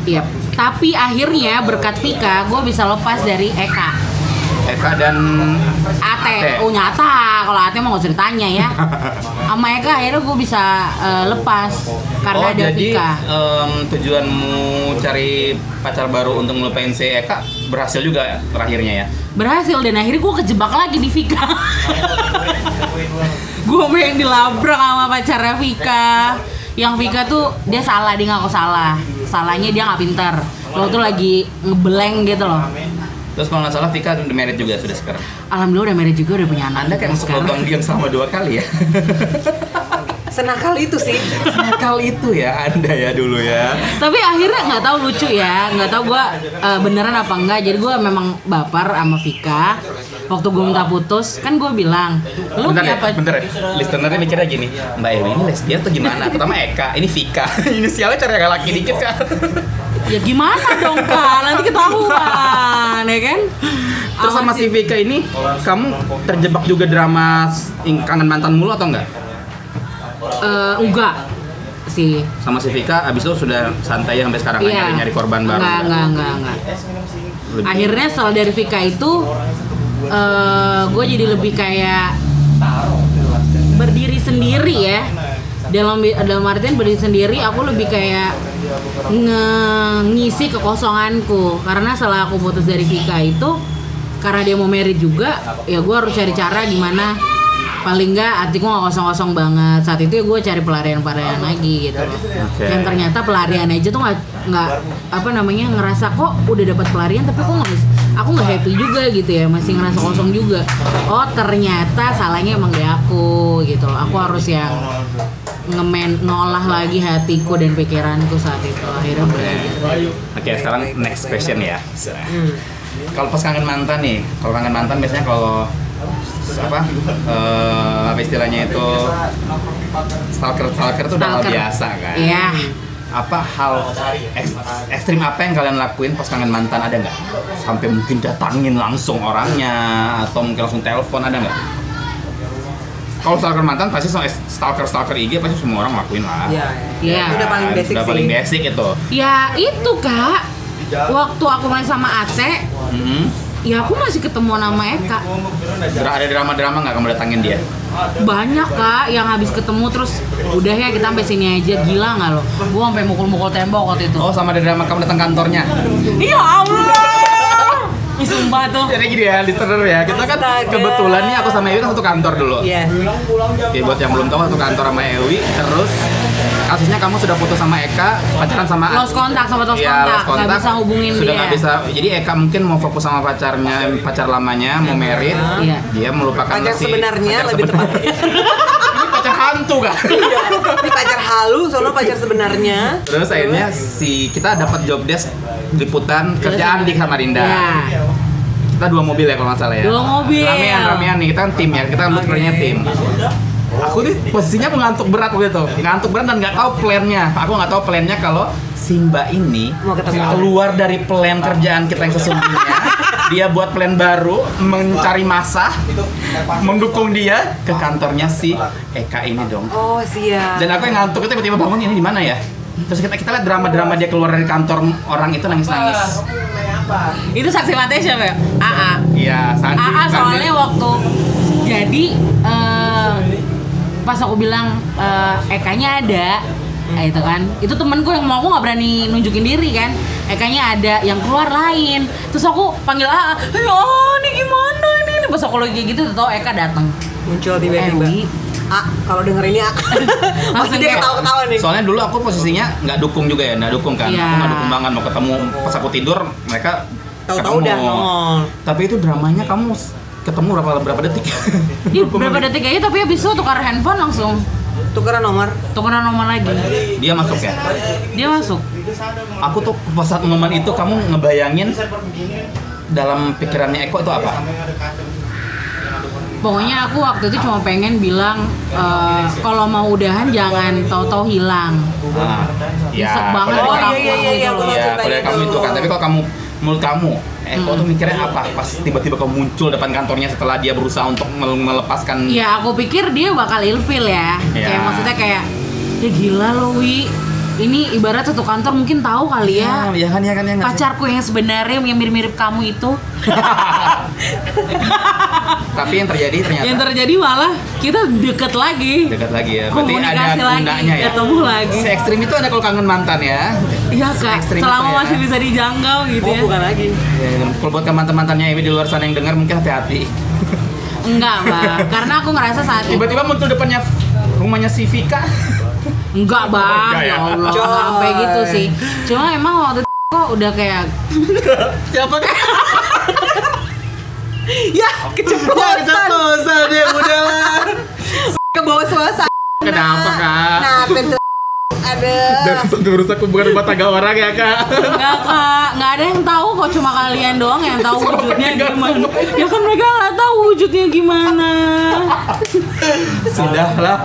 S2: Iya. Tapi akhirnya berkat Vika, gue bisa lepas dari Eka.
S1: Eka dan Ate.
S2: Ate, oh nyata. Kalau Ate mau nggak usah ditanya
S1: [laughs]
S2: ya. Sama Eka akhirnya gue bisa eh, lepas karena
S1: oh
S2: ada
S1: jadi
S2: Vika.
S1: em, tujuanmu cari pacar baru untuk ngelupain si Eka berhasil juga terakhirnya ya
S2: berhasil dan akhirnya gue kejebak lagi di Vika [laughs] gue pengen dilabrak sama pacarnya Vika yang Vika tuh dia salah dia ngaku salah salahnya dia nggak pinter lo tuh lagi ngeblank gitu loh
S1: terus kalau nggak salah Vika udah married juga sudah sekarang
S2: alhamdulillah udah married juga udah punya anak
S1: Anda kayak masuk
S2: Sekarang.
S1: lubang diam sama dua kali ya
S3: senakal itu sih
S1: Nakal itu ya Anda ya dulu ya
S2: tapi akhirnya nggak tahu lucu ya nggak tahu gue beneran apa enggak jadi gue memang baper sama Vika waktu gue minta putus kan gue bilang lu
S1: bentar ya,
S2: kenapa
S1: bentar ya. Listenernya mikirnya gini, Mbak Ewi ini lesbian atau gimana? Pertama Eka, ini Vika. [laughs] Inisialnya cari agak laki dikit kan.
S2: ya gimana dong kak nanti ketahuan ya kan
S1: Terus sama si Vika ini, kamu terjebak juga drama s- ing- kangen mantan mulu atau enggak?
S2: Eh, enggak sih
S1: Sama si Vika, abis itu sudah santai ya sampai sekarang nggak
S2: Iya.
S1: nyari-nyari korban baru.
S2: enggak enggak enggak enggak
S1: Lebih-
S2: akhirnya setelah dari Vika itu eh gue jadi lebih kayak berdiri sendiri ya dalam dalam artian berdiri sendiri aku lebih kayak nge- ngisi kekosonganku karena setelah aku putus dari Vika itu karena dia mau married juga ya gue harus cari cara gimana paling nggak hatiku nggak kosong-kosong banget saat itu ya gue cari pelarian-pelarian lagi gitu loh
S1: Oke.
S2: yang ternyata pelarian aja tuh nggak nggak apa namanya ngerasa kok udah dapat pelarian tapi kok nggak bisa- aku nggak happy juga gitu ya masih ngerasa kosong juga oh ternyata salahnya emang di aku gitu loh aku harus yang ngemen ngolah lagi hatiku dan pikiranku saat itu akhirnya belajar
S1: Oke, sekarang next question ya. Kalau pas kangen mantan nih, kalau kangen mantan biasanya kalau apa eh, apa istilahnya itu stalker stalker itu udah hal
S2: Stalker.
S1: biasa kan
S2: Iya.
S1: apa hal ek- ekstrim apa yang kalian lakuin pas kangen mantan ada nggak sampai mungkin datangin langsung orangnya atau mungkin langsung telepon ada nggak kalau stalker mantan pasti stalker stalker IG pasti semua orang lakuin lah
S3: Iya.
S2: Iya.
S3: Udah paling basic
S1: udah
S3: sih.
S1: paling basic itu
S2: ya itu kak waktu aku main sama Aceh
S1: Mhm.
S2: ya aku masih ketemu nama Eka
S1: Dra- ada drama-drama nggak kamu datangin dia?
S3: Nah.
S2: banyak kak yang habis ketemu terus udah ya kita sampai sini aja gila nggak lo gue sampai mukul-mukul tembok waktu itu
S1: Oh sama ada drama kamu datang kantornya?
S2: Ya Allah. Ih, sumpah tuh.
S1: Jadi gini ya, listener ya, kita kan
S3: Astaga.
S1: kebetulan nih aku sama Ewi kan satu kantor dulu
S2: Iya.
S3: Yes.
S1: Ya buat yang belum tahu satu kantor sama Ewi, terus kasusnya kamu sudah putus sama Eka, pacaran sama
S2: Lost kontak sama lost
S1: Iya,
S2: kontak,
S1: lost
S2: nggak bisa hubungin
S1: sudah
S2: dia.
S1: nggak bisa. Jadi Eka mungkin mau fokus sama pacarnya, pacar lamanya, mau merit.
S2: Iya.
S1: Dia melupakan
S3: Pacar
S1: si-
S3: sebenarnya
S1: pacar
S3: lebih
S1: sebenarnya.
S3: [laughs]
S1: [laughs] Ini pacar hantu
S2: [laughs]
S1: kan?
S3: Ini pacar halu, soalnya pacar sebenarnya.
S1: Terus akhirnya si kita dapat job desk liputan kerjaan di Samarinda.
S2: Ya.
S1: kita dua mobil ya kalau nggak salah ya
S2: Dua mobil.
S1: ramean ramean nih kita kan tim ya kita looternya tim aku nih posisinya mengantuk berat waktu itu ngantuk berat dan nggak tahu plannya aku nggak tahu plannya kalau Simba ini
S3: Mau ketemu.
S1: keluar dari plan kerjaan kita yang sesungguhnya dia buat plan baru mencari masa mendukung dia ke kantornya si Eka ini dong
S3: Oh siap.
S1: dan aku yang ngantuk itu tiba-tiba bangun ini di mana ya terus kita kita lihat drama-drama dia keluar dari kantor orang itu nangis-nangis
S2: Ah. Itu saksi mata siapa ya? AA.
S1: iya Sandi Sandi.
S2: AA Ah, soalnya waktu jadi eh, pas aku bilang eh, Ekanya ada eh, itu kan itu temen gue yang mau aku nggak berani nunjukin diri kan Ekanya ada yang keluar lain terus aku panggil AA ya ini gimana ini ini pas aku lagi kayak gitu tau Eka Eh, datang
S3: Muncul tiba-tiba.
S1: Eh,
S2: Ewi.
S3: Ah, kalau denger ini
S1: [laughs]
S3: ah. Pasti dia ketawa-ketawa nih.
S1: Soalnya dulu aku posisinya nggak dukung juga ya, nggak dukung kan.
S2: Iya.
S1: Aku nggak dukung banget mau ketemu pas aku tidur mereka
S3: Tahu-tahu
S1: ketemu.
S3: udah nongol.
S1: Tapi itu dramanya kamu s- ketemu berapa berapa detik? [laughs]
S2: Ih, berapa detik aja tapi habis itu tukar handphone langsung
S3: tukeran nomor
S2: Tukeran nomor lagi.
S1: Dia masuk ya.
S2: Dia masuk.
S1: Aku tuh pas saat momen itu kamu ngebayangin dalam pikirannya Eko itu apa?
S2: Pokoknya aku waktu itu cuma pengen bilang eh, kalau mau udahan jangan tahu-tahu hilang.
S1: Ah,
S2: Nyesek
S1: ya,
S2: banget
S1: kalau
S3: oh
S1: dari
S3: iya
S1: kamu,
S3: iya iya iya aku tahu
S1: Iya, kalau
S3: cerita Hmm.
S1: dari kamu itu kan. Tapi kalau kamu menurut kamu Eko tuh mikirnya apa pas tiba-tiba kamu muncul depan kantornya setelah dia berusaha untuk mel- melepaskan
S3: Iya.
S2: Ya aku pikir dia bakal ilfil ya.
S1: Ya.
S2: Kayak maksudnya kayak ya gila lo Wi. Ini ibarat satu kantor mungkin tahu kali ya.
S1: ya kan ya kan ya nggak sih?
S2: Pacarku yang sebenarnya yang mirip-mirip kamu itu
S1: Tapi yang terjadi ternyata
S2: yang terjadi malah kita deket lagi.
S1: dekat lagi ya. Berarti ada
S2: Komunikasi lagi,
S1: gunanya ya.
S2: ketemu lagi.
S1: Se ekstrim itu ada kalau kangen mantan ya.
S2: Iya kak,
S1: Se-ekstrim
S2: selama
S1: itu ya.
S2: masih bisa dijangkau gitu
S3: oh
S2: ya.
S3: bukan lagi
S1: Ya, Kalau buat mantan-mantannya ini di luar sana yang dengar mungkin hati-hati.
S2: Enggak
S1: [laughs]
S2: mbak, karena aku ngerasa saat itu
S1: Tiba-tiba muncul depannya rumahnya si Vika.
S2: Enggak bang,
S1: Enggak ya?
S2: ya Allah
S3: Coy.
S2: sampai gitu sih. Cuma emang waktu itu kok udah kayak
S1: Siapa kan?
S3: ya
S1: Iya,
S3: keceplosan
S1: Keceplosan dia udah lah.
S3: ke bawah suasana
S1: Kenapa kak?
S3: nah pintu ada
S1: Dari satu merusak hubungan rumah tangga orang ya kak.
S2: enggak kak, enggak ada yang tahu kok cuma kalian doang yang tahu
S1: Sama
S2: wujudnya
S1: mereka
S2: gimana.
S1: semua.
S2: Ya kan mereka nggak tahu wujudnya gimana.
S1: Sudahlah.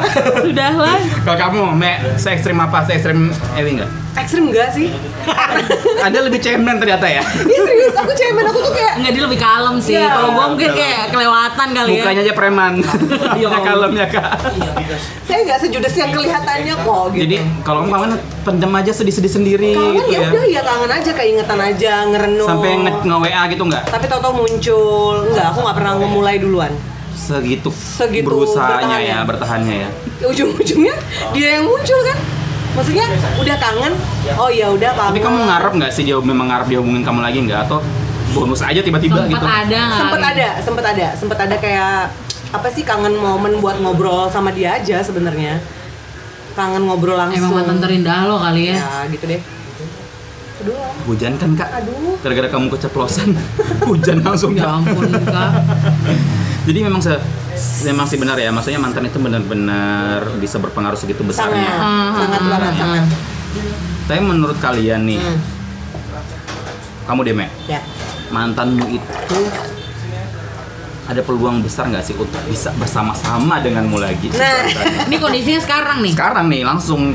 S2: Sudahlah.
S1: Kalau kamu, Mek, se ekstrim apa? Se ekstrim Ewi nggak?
S3: ekstrim enggak sih
S1: Anda lebih cemen ternyata ya.
S3: ini serius aku cemen aku tuh kayak
S2: Enggak dia lebih kalem sih.
S3: Iya.
S2: Kalau gua mungkin kayak kelewatan kali ya.
S1: Mukanya aja preman.
S2: [laughs] Ya Allah.
S1: Kalemnya kak.
S3: saya nggak sejudes yang kelihatannya kok gitu
S1: Jadi kalau kamu kangen pendem aja sedih-sedih sendiri
S3: kangen
S1: gitu
S3: ya udah ya kangen aja keingetan aja ngerenung
S1: Sampai nge, WA gitu nggak?
S3: tapi tau-tau muncul enggak aku nggak pernah memulai duluan
S1: Segitu,
S3: Segitu
S1: berusahanya
S3: bertahannya.
S1: ya, bertahannya ya.
S3: ujung-ujungnya dia yang muncul kan maksudnya udah kangen oh ya udah kangen
S1: Tapi kamu ngarep nggak sih dia memang ngarep dia hubungin kamu lagi nggak atau bonus aja tiba-tiba
S2: Sempat
S1: gitu?
S2: ada nggak?
S3: sempet ada sempet ada sempet ada kayak apa sih kangen momen buat ngobrol sama dia aja sebenarnya kangen ngobrol langsung
S2: Emang mantan terindah lo kali ya.
S3: ya gitu deh aduh
S1: Hujan kan kak?
S3: aduh
S1: Gara-gara kamu keceplosan, [laughs] hujan langsung
S2: Ya
S1: kak.
S2: ampun kak.
S1: Jadi memang se memang sih benar ya, maksudnya mantan itu benar-benar bisa berpengaruh segitu
S3: sangat
S1: besarnya.
S2: Ah,
S3: sangat banget sangat
S1: Tapi menurut kalian nih,
S3: Hmm.
S1: kamu deh Mek,
S3: ya
S1: mantanmu itu ada peluang besar nggak sih untuk bisa bersama-sama denganmu lagi?
S3: Nah.
S2: Ini kondisinya sekarang nih.
S1: Sekarang nih langsung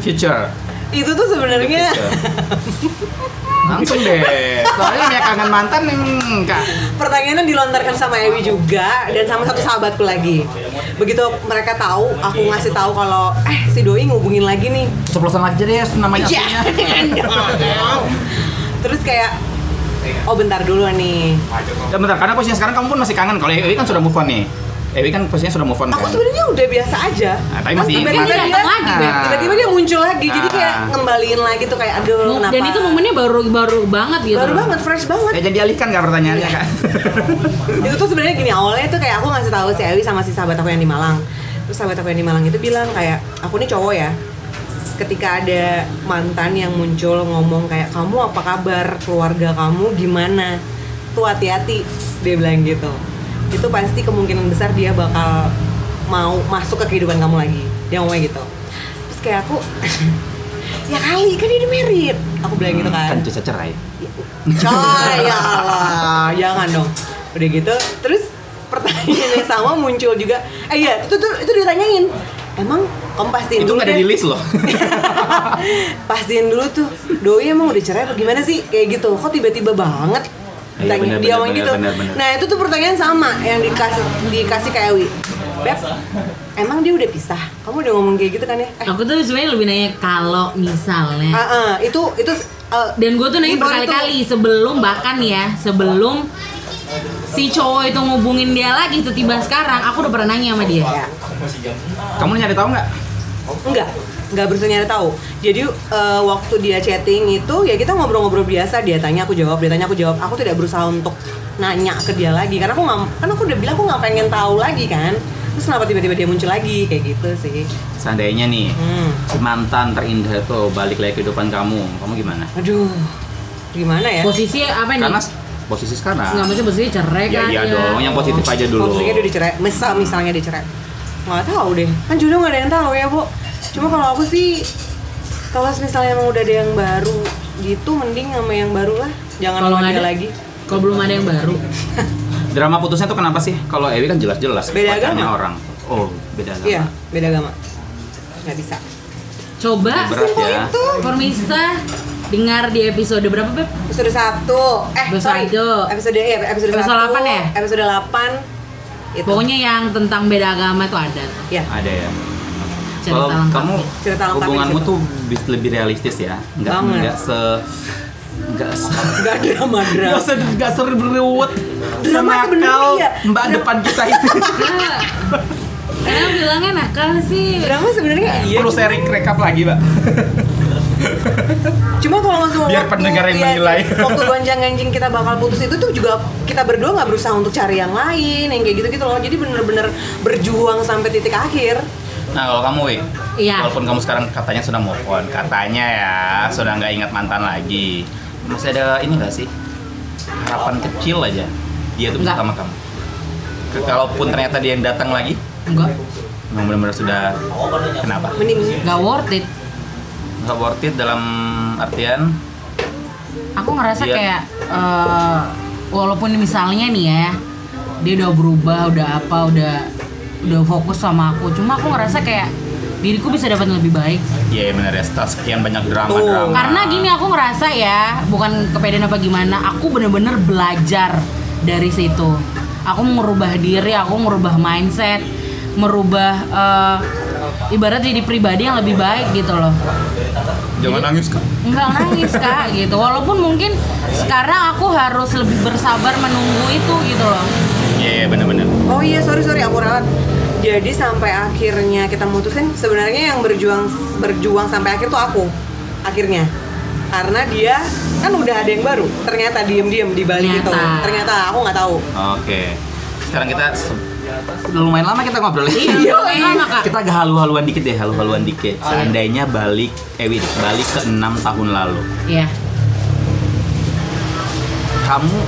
S1: future.
S3: itu tuh sebenarnya
S1: Future. Gitu. Langsung deh. Soalnya banyak kangen mantan nih, Kak.
S3: [laughs] pertanyaannya dilontarkan sama Ewi juga dan sama satu sahabatku lagi begitu mereka tahu aku ngasih tahu kalau eh si Doi ngubungin lagi nih
S1: Ceplosan aja deh nama aslinya.
S3: terus kayak oh bentar dulu nih
S1: Ya bentar, karena posisinya sekarang kamu pun masih kangen. Kalau Ewi kan sudah move on nih. Ewi kan posisinya sudah move on
S3: aku
S1: kan.
S3: sebenarnya udah biasa aja
S1: Nah, tapi masih-
S3: tiba-tiba
S2: Tapi dia
S3: dia-
S2: datang lagi, Beb.
S3: tiba-tiba dia muncul lagi jadi kayak
S1: Ah.
S3: ngembaliin lagi tuh kayak aduh kenapa
S2: Dan itu momennya baru baru banget gitu.
S3: baru banget fresh banget
S1: Ya jadi alihkan nggak pertanyaannya kak?
S3: itu tuh sebenarnya gini awalnya tuh kayak aku ngasih tahu si Ewi sama si sahabat aku yang di Malang terus sahabat aku yang di Malang itu bilang kayak aku nih cowok ya ketika ada mantan yang muncul ngomong kayak kamu apa kabar keluarga kamu gimana tuh hati-hati dia bilang gitu itu pasti kemungkinan besar dia bakal mau masuk ke kehidupan kamu lagi dia ngomongnya gitu terus kayak aku [laughs] ya kali kan dia udah married aku bilang gitu kan
S1: Kan bisa cerai.
S3: Coy, ya Allah, jangan dong. Udah gitu, terus pertanyaan yang sama muncul juga. Eh iya, itu tuh itu ditanyain. Emang kamu pastiin
S1: Itu
S3: dulu
S1: nggak ada
S3: deh.
S1: di list loh.
S3: [laughs] pastiin dulu tuh. Doi emang udah cerai apa gimana sih? Kayak gitu. Kok tiba-tiba banget?
S1: Iya,
S3: Tanya-
S1: bener,
S3: dia
S1: bener,
S3: ngomong
S1: bener,
S3: gitu.
S1: bener, bener.
S3: Nah, itu tuh pertanyaan sama yang dikasih dikasih ke Ewi. Beb, emang dia udah pisah? Kamu udah ngomong kayak gitu kan ya? Eh,
S2: Aku tuh sebenarnya lebih nanya kalau misalnya.
S3: ah, ah, itu itu eh,
S2: dan gue tuh nanya
S3: info itu-
S2: berkali-kali sebelum bahkan ya sebelum si cowok itu ngubungin dia lagi tiba sekarang aku udah pernah nanya sama dia
S3: Ya.
S1: Kamu nyari tahu nggak?
S3: Enggak, enggak berusaha nyari tahu. Jadi eh, waktu dia chatting itu ya kita ngobrol-ngobrol biasa, dia tanya aku jawab, dia tanya aku jawab. Aku tidak berusaha untuk nanya ke dia lagi karena aku nggak, kan aku udah bilang aku nggak pengen tahu lagi kan. Terus kenapa tiba-tiba dia muncul lagi kayak gitu sih?
S1: Seandainya nih
S3: Hmm.
S1: mantan terindah tuh balik lagi ke kehidupan kamu, kamu gimana?
S3: Aduh, gimana ya?
S2: posisi apa nih
S1: Karena s- posisi sekarang.
S2: nggak mesti posisi cerai
S1: Ya
S2: kan
S1: iya
S2: ya.
S1: dong, yang positif aja dulu.
S3: Maksudnya dia dicerai, misal misalnya dicerai. nggak tahu deh kan jodoh nggak ada yang tahu ya bu cuma kalau aku sih kalau misalnya emang udah ada yang baru gitu mending sama yang baru lah jangan
S2: Kalau
S3: sama
S2: nggak
S3: dia
S2: ada?
S3: lagi
S2: Kalau belum ada yang baru.
S1: Drama putusnya tuh kenapa sih? Kalau Ewi kan jelas-jelas
S3: Beda
S1: pacarnya
S3: agama.
S1: orang. Oh, beda agama.
S3: iya beda agama nggak bisa
S2: Coba
S1: Berat ya.
S3: itu
S2: Permisa dengar di episode berapa, Beb?
S3: episode satu eh
S2: Episode
S3: sorry
S2: satu.
S3: episode iya
S2: Episode
S3: episode, satu,
S2: delapan ya?
S3: episode delapan itu
S2: Pokoknya yang tentang beda agama itu ada. tuh.
S3: ya
S1: Ada ya.
S2: Cerita
S1: Kalau
S2: lengkapnya.
S1: kamu
S3: Cerita lengkapnya
S1: hubunganmu
S3: di situ.
S1: tuh bis- lebih realistis ya. Enggak
S3: Banget.
S1: enggak se enggak se [laughs]
S3: nggak drama
S1: enggak
S3: drama
S1: se enggak seriwet
S3: Drama
S1: senakal
S3: sebenarnya iya.
S1: Mbak depan kita itu.
S2: Ah, Kenapa bilangnya nakal sih?
S3: drama sebenarnya iya
S1: Perlu sharing rekap lagi, Mbak.
S3: Cuma kalau langsung
S1: Biar pendengar yang menilai.
S3: iya [laughs] Waktu gonjang ganjing kita bakal putus itu tuh juga kita berdua nggak berusaha untuk cari yang lain yang kayak gitu gitu loh. Jadi bener-bener berjuang sampai titik akhir.
S1: Nah, kalau kamu, Wi,
S2: Iya.
S1: walaupun kamu sekarang katanya sudah move on, katanya ya sudah nggak ingat mantan lagi, masih ada ini nggak sih harapan kecil aja dia tuh bisa
S2: Nggak.
S1: sama kamu. Ke- Kalaupun ternyata dia yang datang lagi,
S2: Enggak,
S1: memang benar-benar sudah kenapa?
S3: Mending
S2: enggak worth it.
S1: Nggak worth it dalam artian
S2: Aku ngerasa
S1: Iya.
S2: kayak eh, walaupun misalnya nih ya, dia udah berubah, udah apa, udah udah fokus sama aku. Cuma aku ngerasa kayak diriku bisa dapat lebih baik.
S1: ya benar ya setelah sekian banyak
S3: Tuh.
S1: drama-drama.
S2: Karena gini aku ngerasa ya, bukan kepedean apa gimana, aku bener-bener belajar dari situ. Aku merubah diri, aku merubah mindset, merubah eh, ibarat jadi pribadi yang lebih baik gitu loh.
S1: Jangan nangis kan?
S2: Enggak nangis kak gitu, walaupun mungkin sekarang aku harus lebih bersabar menunggu itu gitu loh.
S1: Iya benar-benar.
S3: Oh iya sorry sorry aku ralat. Jadi sampai akhirnya kita mutusin sebenarnya yang berjuang berjuang sampai akhir tuh aku akhirnya karena dia kan udah ada yang baru ternyata diem-diem di balik itu
S2: Ternyata.
S3: ternyata aku nggak tahu
S1: Oke. Sekarang kita se- lumayan lama kita ngobrol.
S2: Iya,
S1: [laughs]
S2: lama kak. Iya.
S1: Kita agak halu-haluan dikit deh, halu-haluan dikit. Seandainya balik, eh wait, balik ke enam tahun lalu,
S2: Iya.
S1: kamu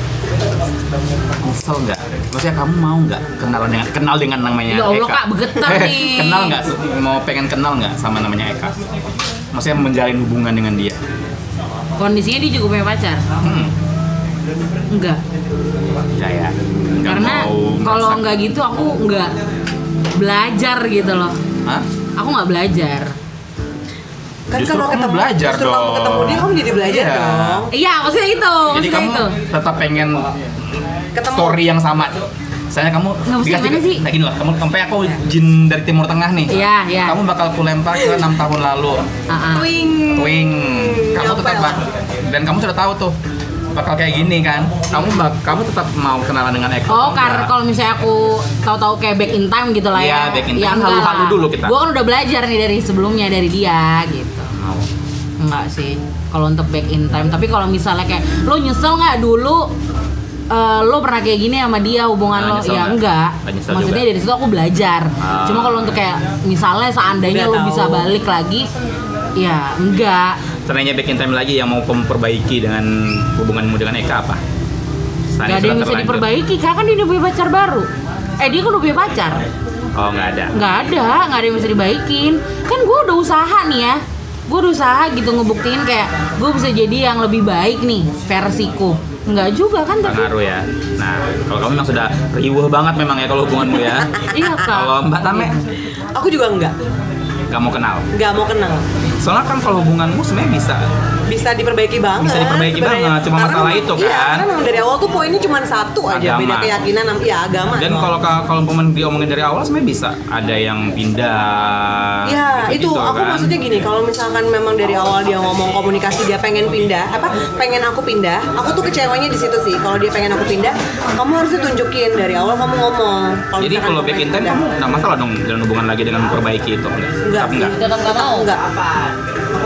S1: nyesel nggak? Maksudnya kamu mau nggak kenalan dengan kenal dengan namanya
S2: Ya Allah,
S1: Eka?
S2: Kak,
S1: [laughs]
S2: begetar nih.
S1: kenal nggak? Mau pengen kenal nggak sama namanya Eka? Maksudnya menjalin hubungan dengan dia?
S2: Kondisinya dia juga punya pacar?
S1: Hmm,
S2: Enggak.
S1: nggak ya. Nggak
S2: Karena
S1: mau
S2: kalau
S1: merasa-
S2: enggak gitu aku enggak belajar gitu loh.
S1: Hah?
S2: Aku nggak belajar.
S3: kan
S1: Justru
S3: kalau
S1: kamu
S3: ketemu
S1: belajar
S3: justru kamu
S1: dong.
S3: ketemu dia kamu jadi belajar
S1: Iya.
S3: dong
S2: Iya, maksudnya itu,
S1: Jadi
S2: maksudnya
S1: kamu
S2: itu.
S1: tetap pengen
S3: ketemu
S1: story yang sama. Misalnya kamu
S2: Nggak mesti
S1: dikasih-
S2: gimana sih?
S1: Nah gini loh, kamu sampai aku jin dari Timur Tengah nih.
S2: Iya, iya.
S1: Kamu bakal kulempar ke 6 tahun lalu.
S2: Ah, ah.
S3: Twing.
S1: Twing. Kamu
S3: Nyopel.
S1: tetap bak- dan kamu sudah tahu tuh bakal kayak gini kan. Kamu bak- kamu tetap mau kenalan dengan Eko. atau
S2: Oh, karena
S1: enggak?
S2: kalau misalnya aku tahu-tahu kayak back in time gitu lah
S1: Iya,
S2: ya.
S1: back in time.
S2: Ya, enggak lah.
S1: Halu-halu dulu kita.
S2: Gua kan udah belajar nih dari sebelumnya dari dia gitu.
S1: mau.
S2: Enggak sih. Kalau untuk back in time, tapi kalau misalnya kayak lo nyesel nggak dulu eh, lo pernah kayak gini sama dia hubungan
S1: Nah,
S2: lo
S1: nyesel
S2: ya
S1: nggak?
S2: enggak
S1: Nggak nyesel
S2: maksudnya
S1: juga.
S2: dari situ aku belajar
S1: Ah.
S2: cuma kalau untuk kayak misalnya seandainya
S3: Udah
S2: lo
S3: tahu.
S2: bisa balik lagi ya enggak
S1: Seandainya back in time lagi yang mau kamu perbaiki dengan hubunganmu dengan Eka apa?
S2: nggak
S1: Seandainya sudah Nah,
S2: ada yang bisa
S1: kan terlanjur.
S2: diperbaiki karena kan dia udah punya pacar baru eh dia kan udah punya pacar
S1: Oh, nggak ada.
S2: nggak ada nggak ada yang bisa dibaikin kan gue udah usaha nih ya gue udah usaha gitu ngebuktiin kayak gue bisa jadi yang lebih baik nih versiku nggak juga kan tapi
S1: Pengaruh ya. Nah, kalau kamu memang sudah riuh banget memang ya kalau hubunganmu ya.
S2: [laughs] iya kak
S1: Kalau Mbak Tame
S3: aku juga enggak
S1: nggak mau kenal.
S3: nggak mau kenal
S1: Soalnya kan kalau hubunganmu sebenarnya bisa.
S3: bisa diperbaiki banget
S1: Bisa diperbaiki banget, cuma
S3: Karena
S1: masalah
S3: memang-
S1: itu
S3: iya,
S1: kan.
S3: karena memang dari awal tuh poinnya cuma satu aja
S1: Agama.
S3: beda keyakinan am- ya agama
S1: Dan
S3: emang.
S1: kalau ka- kalau pemen diomongin dari awal sebenarnya bisa. Ada yang pindah.
S3: Ya itu
S1: gitu-gitu
S3: aku
S1: kan.
S3: maksudnya gini kalau misalkan memang dari awal dia ngomong komunikasi dia pengen pindah apa pengen aku pindah aku tuh kecewanya di situ sih kalau dia pengen aku pindah kamu harus tunjukin dari awal kamu ngomong
S1: Jadi
S3: misalkan
S1: kalau
S3: aku
S1: back in
S3: pengen
S1: time
S3: pindah.
S1: kamu nggak masalah dong jalan hubungan lagi dengan memperbaiki itu enggak?
S3: enggak
S1: Tetap
S3: sih
S1: enggak.
S2: Tetap nggak mau?
S3: enggak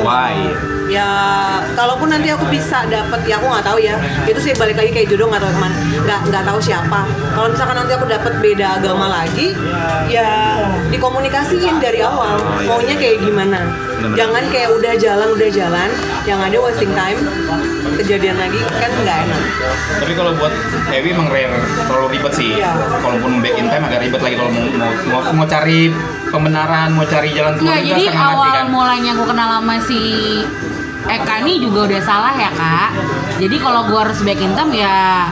S1: Why?
S3: ya kalaupun nanti aku bisa dapat ya aku nggak tahu ya itu sih balik lagi kayak jodoh nggak tahu teman nggak nggak tahu siapa kalau misalkan nanti aku dapat beda agama lagi ya dikomunikasiin dari awal maunya kayak gimana
S1: benar-benar.
S3: jangan kayak udah jalan udah jalan yang ada wasting time kejadian lagi kan nggak enak
S1: Tapi kalau buat Ewi emang rare, terlalu ribet sih.
S3: Iya.
S1: Kalaupun back in time agak ribet lagi kalau mau, mau, mau, mau cari pembenaran, mau cari jalan keluar
S2: Nggak,
S1: juga
S2: jadi
S1: setengah mati
S2: awal
S1: kan.
S2: mulanya gue kenal sama si Eka ini juga udah salah ya kak Jadi kalau gue harus back in time ya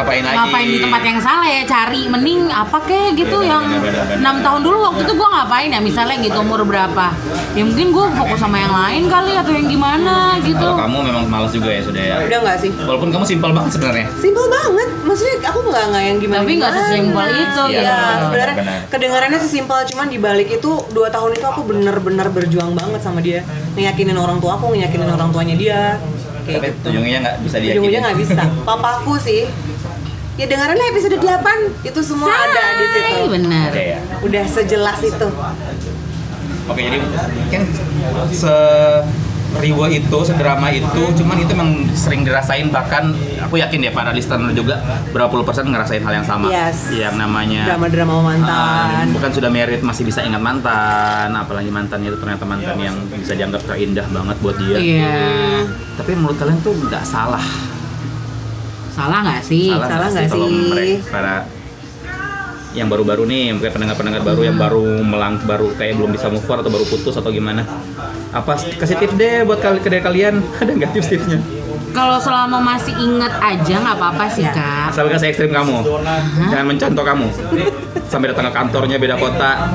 S1: Ngapain lagi?
S2: ngapain di tempat yang salah ya cari mending apa kek gitu
S1: Bener,
S2: yang
S1: bener, bener, bener.
S2: enam tahun dulu waktu itu gue ngapain ya misalnya gitu umur berapa ya mungkin gue fokus sama yang lain kali atau yang gimana gitu
S1: Kalau kamu memang malas juga ya sudah ya.
S3: udah nggak sih
S1: Walaupun kamu simpel banget sebenarnya.
S3: Simpel banget, maksudnya aku nggak nggak yang gimana.
S2: Tapi nggak sesimpel itu,
S3: Iya,
S2: gitu.
S3: sebenarnya
S1: Benar.
S3: kedengarannya sesimpel, cuman dibalik itu dua tahun itu aku bener-bener berjuang banget sama dia, ngeyakinin orang tua aku, ngeyakinin orang tuanya dia,
S1: Tapi
S3: kayak gitu.
S1: ujungnya nggak bisa diyakini.
S3: Ujung-ujungnya nggak
S1: [laughs]
S3: bisa. Papaku sih, ya dengarannya episode 8 itu semua ada di situ.
S2: Say, bener
S1: Oke ya.
S3: Udah sejelas itu.
S1: Oke jadi kan se riwa itu, sedrama itu, cuman itu memang sering dirasain bahkan aku yakin ya para listener juga berapa puluh persen ngerasain hal yang sama Iya,
S3: Yes.
S1: yang namanya
S3: Drama-drama
S1: Ah,
S3: mantan.
S1: bukan sudah merit masih bisa ingat mantan, apalagi mantannya itu ternyata mantan yang bisa dianggap terindah banget buat dia.
S2: iya
S1: Tapi menurut kalian tuh nggak salah,
S2: salah nggak sih
S3: salah
S1: nggak
S3: nggak
S1: kalau
S3: sih?
S1: mereka para yang baru-baru nih, mungkin pendengar-pendengar
S3: Iya.
S1: baru yang baru melang, baru kayak belum bisa move on atau baru putus atau gimana? Apa kasih tips deh buat kali dari kalian? [laughs] Ada nggak tips-tipsnya?
S2: kalau selama masih inget aja nggak apa-apa sih
S3: Ya.
S2: kak
S1: Asal kasih ekstrim kamu, jangan mencontoh kamu sampai datang ke kantornya beda kota.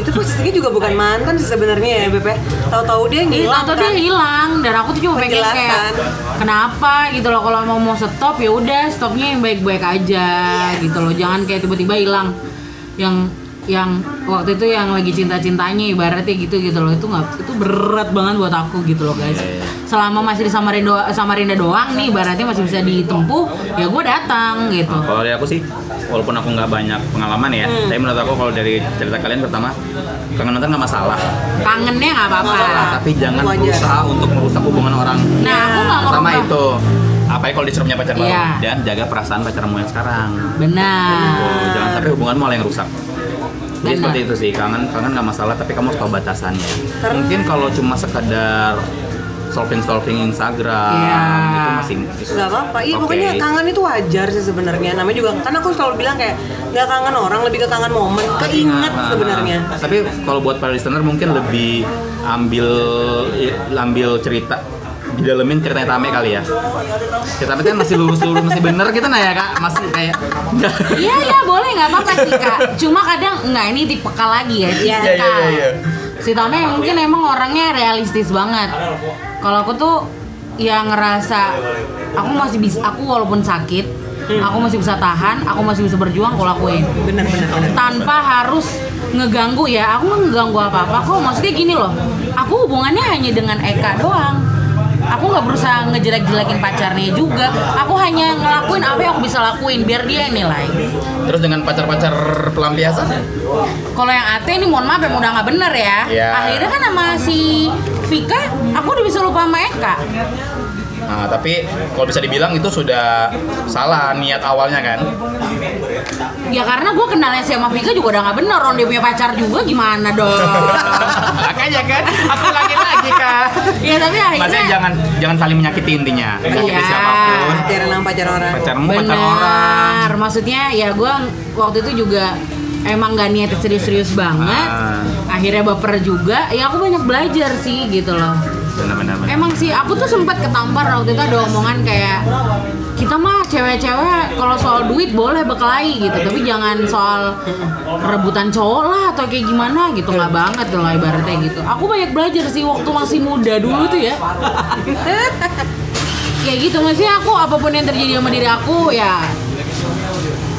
S3: Itu posisinya juga bukan mantan sih sebenarnya ya, Beb. ya. Tahu-tahu dia
S2: Ih,
S3: ngilang
S2: atau Iya, dia
S3: kan.
S2: hilang dan aku tuh cuma pengen kayak
S3: Penjelasan.
S2: kenapa gitu loh kalau mau mau stop ya udah stopnya yang baik-baik aja gitu loh jangan kayak tiba-tiba hilang yang yang waktu itu yang lagi cinta-cintanya ibaratnya gitu gitu loh itu nggak itu berat banget buat aku gitu loh guys
S1: Iya, iya.
S2: selama masih di Samarinda Samarinda doang nih ibaratnya masih bisa ditempuh ya gue datang gitu
S1: Nah, kalau dari aku sih, walaupun aku nggak banyak pengalaman ya,
S3: Hmm.
S1: tapi menurut aku kalau dari cerita kalian pertama, kangen mantan nggak masalah.
S2: kangennya nggak apa-apa
S1: Tapi jangan
S3: Wajar.
S1: berusaha untuk merusak hubungan orang.
S2: nah aku nggak
S1: Sama
S2: ngerubah.
S1: itu. Apalagi kalau disuruhnya pacar baru
S2: Iya.
S1: dan jaga perasaan pacarmu yang sekarang.
S2: benar
S1: Tuh, jangan sampai hubunganmu malah yang rusak. Jadi
S2: Nah. Benar.
S1: seperti itu sih, kangen kangen nggak masalah, tapi kamu harus tahu batasannya.
S3: Karena-
S1: Mungkin kalau cuma sekadar solving solving Instagram
S2: Iya.
S1: itu masih itu-
S3: Gak apa-apa, iya
S1: Oke.
S3: pokoknya kangen itu wajar sih sebenarnya Namanya juga, kan aku selalu bilang kayak Gak kangen orang, lebih ke kangen momen Keinget
S1: Nah,
S3: sebenarnya
S1: Tapi kalau buat para listener mungkin lebih ambil ambil cerita di dalemin ceritanya Tame kali ya. Cerita Tame kan masih lurus-lurus masih bener gitu nah ya Kak, masih kayak [laughs]
S2: Iya iya boleh nggak apa-apa sih kak. Cuma kadang nggak ini tipe kak lagi ya. Iya
S1: iya, iya.
S2: Si Tame mungkin emang orangnya realistis banget. Kalau aku tuh ya ngerasa aku masih bisa aku walaupun sakit, aku masih bisa tahan, aku masih bisa berjuang aku lakuin
S3: Bener-bener bener.
S2: tanpa harus ngeganggu ya aku nggak ngeganggu apa apa kok maksudnya gini loh aku hubungannya hanya dengan Eka doang aku nggak berusaha ngejelek-jelekin pacarnya juga aku hanya ngelakuin apa yang aku bisa lakuin biar dia yang nilai
S1: terus dengan pacar-pacar pelampiasan.
S2: kalau yang Ate ini mohon maaf yang udah nggak bener ya
S1: Iya.
S2: akhirnya kan sama si Vika aku udah bisa lupa sama Eka
S1: Nah, tapi kalau bisa dibilang itu sudah salah niat awalnya kan.
S2: ya karena gue kenalnya sama Vika juga udah nggak bener orang dia punya pacar juga
S1: [laughs]
S2: gimana dong
S1: [laughs] Makanya kan aku lagi lagi Kak.
S2: ya tapi
S1: Maksudnya
S2: akhirnya
S1: jangan jangan saling menyakiti intinya. Menyakiti
S2: Iya.
S1: siapapun.
S3: Pacaran sama pacar orang
S1: Pacarmu pacar orang.
S2: Benar, maksudnya ya gue waktu itu juga emang gak niat serius-serius banget.
S1: Ah.
S2: Akhirnya baper juga. Ya aku banyak belajar sih gitu loh.
S1: Benar-benar. benar.
S2: Emang sih aku tuh sempat ketampar waktu itu ada omongan kayak kita mah cewek-cewek kalau soal duit boleh berkelahi gitu, tapi jangan soal rebutan cowok lah atau kayak gimana gitu nggak banget loh ibaratnya gitu. Aku banyak belajar sih waktu masih muda dulu tuh
S3: [laughs]
S2: ya kayak gitu maksudnya aku apapun yang terjadi sama diri aku ya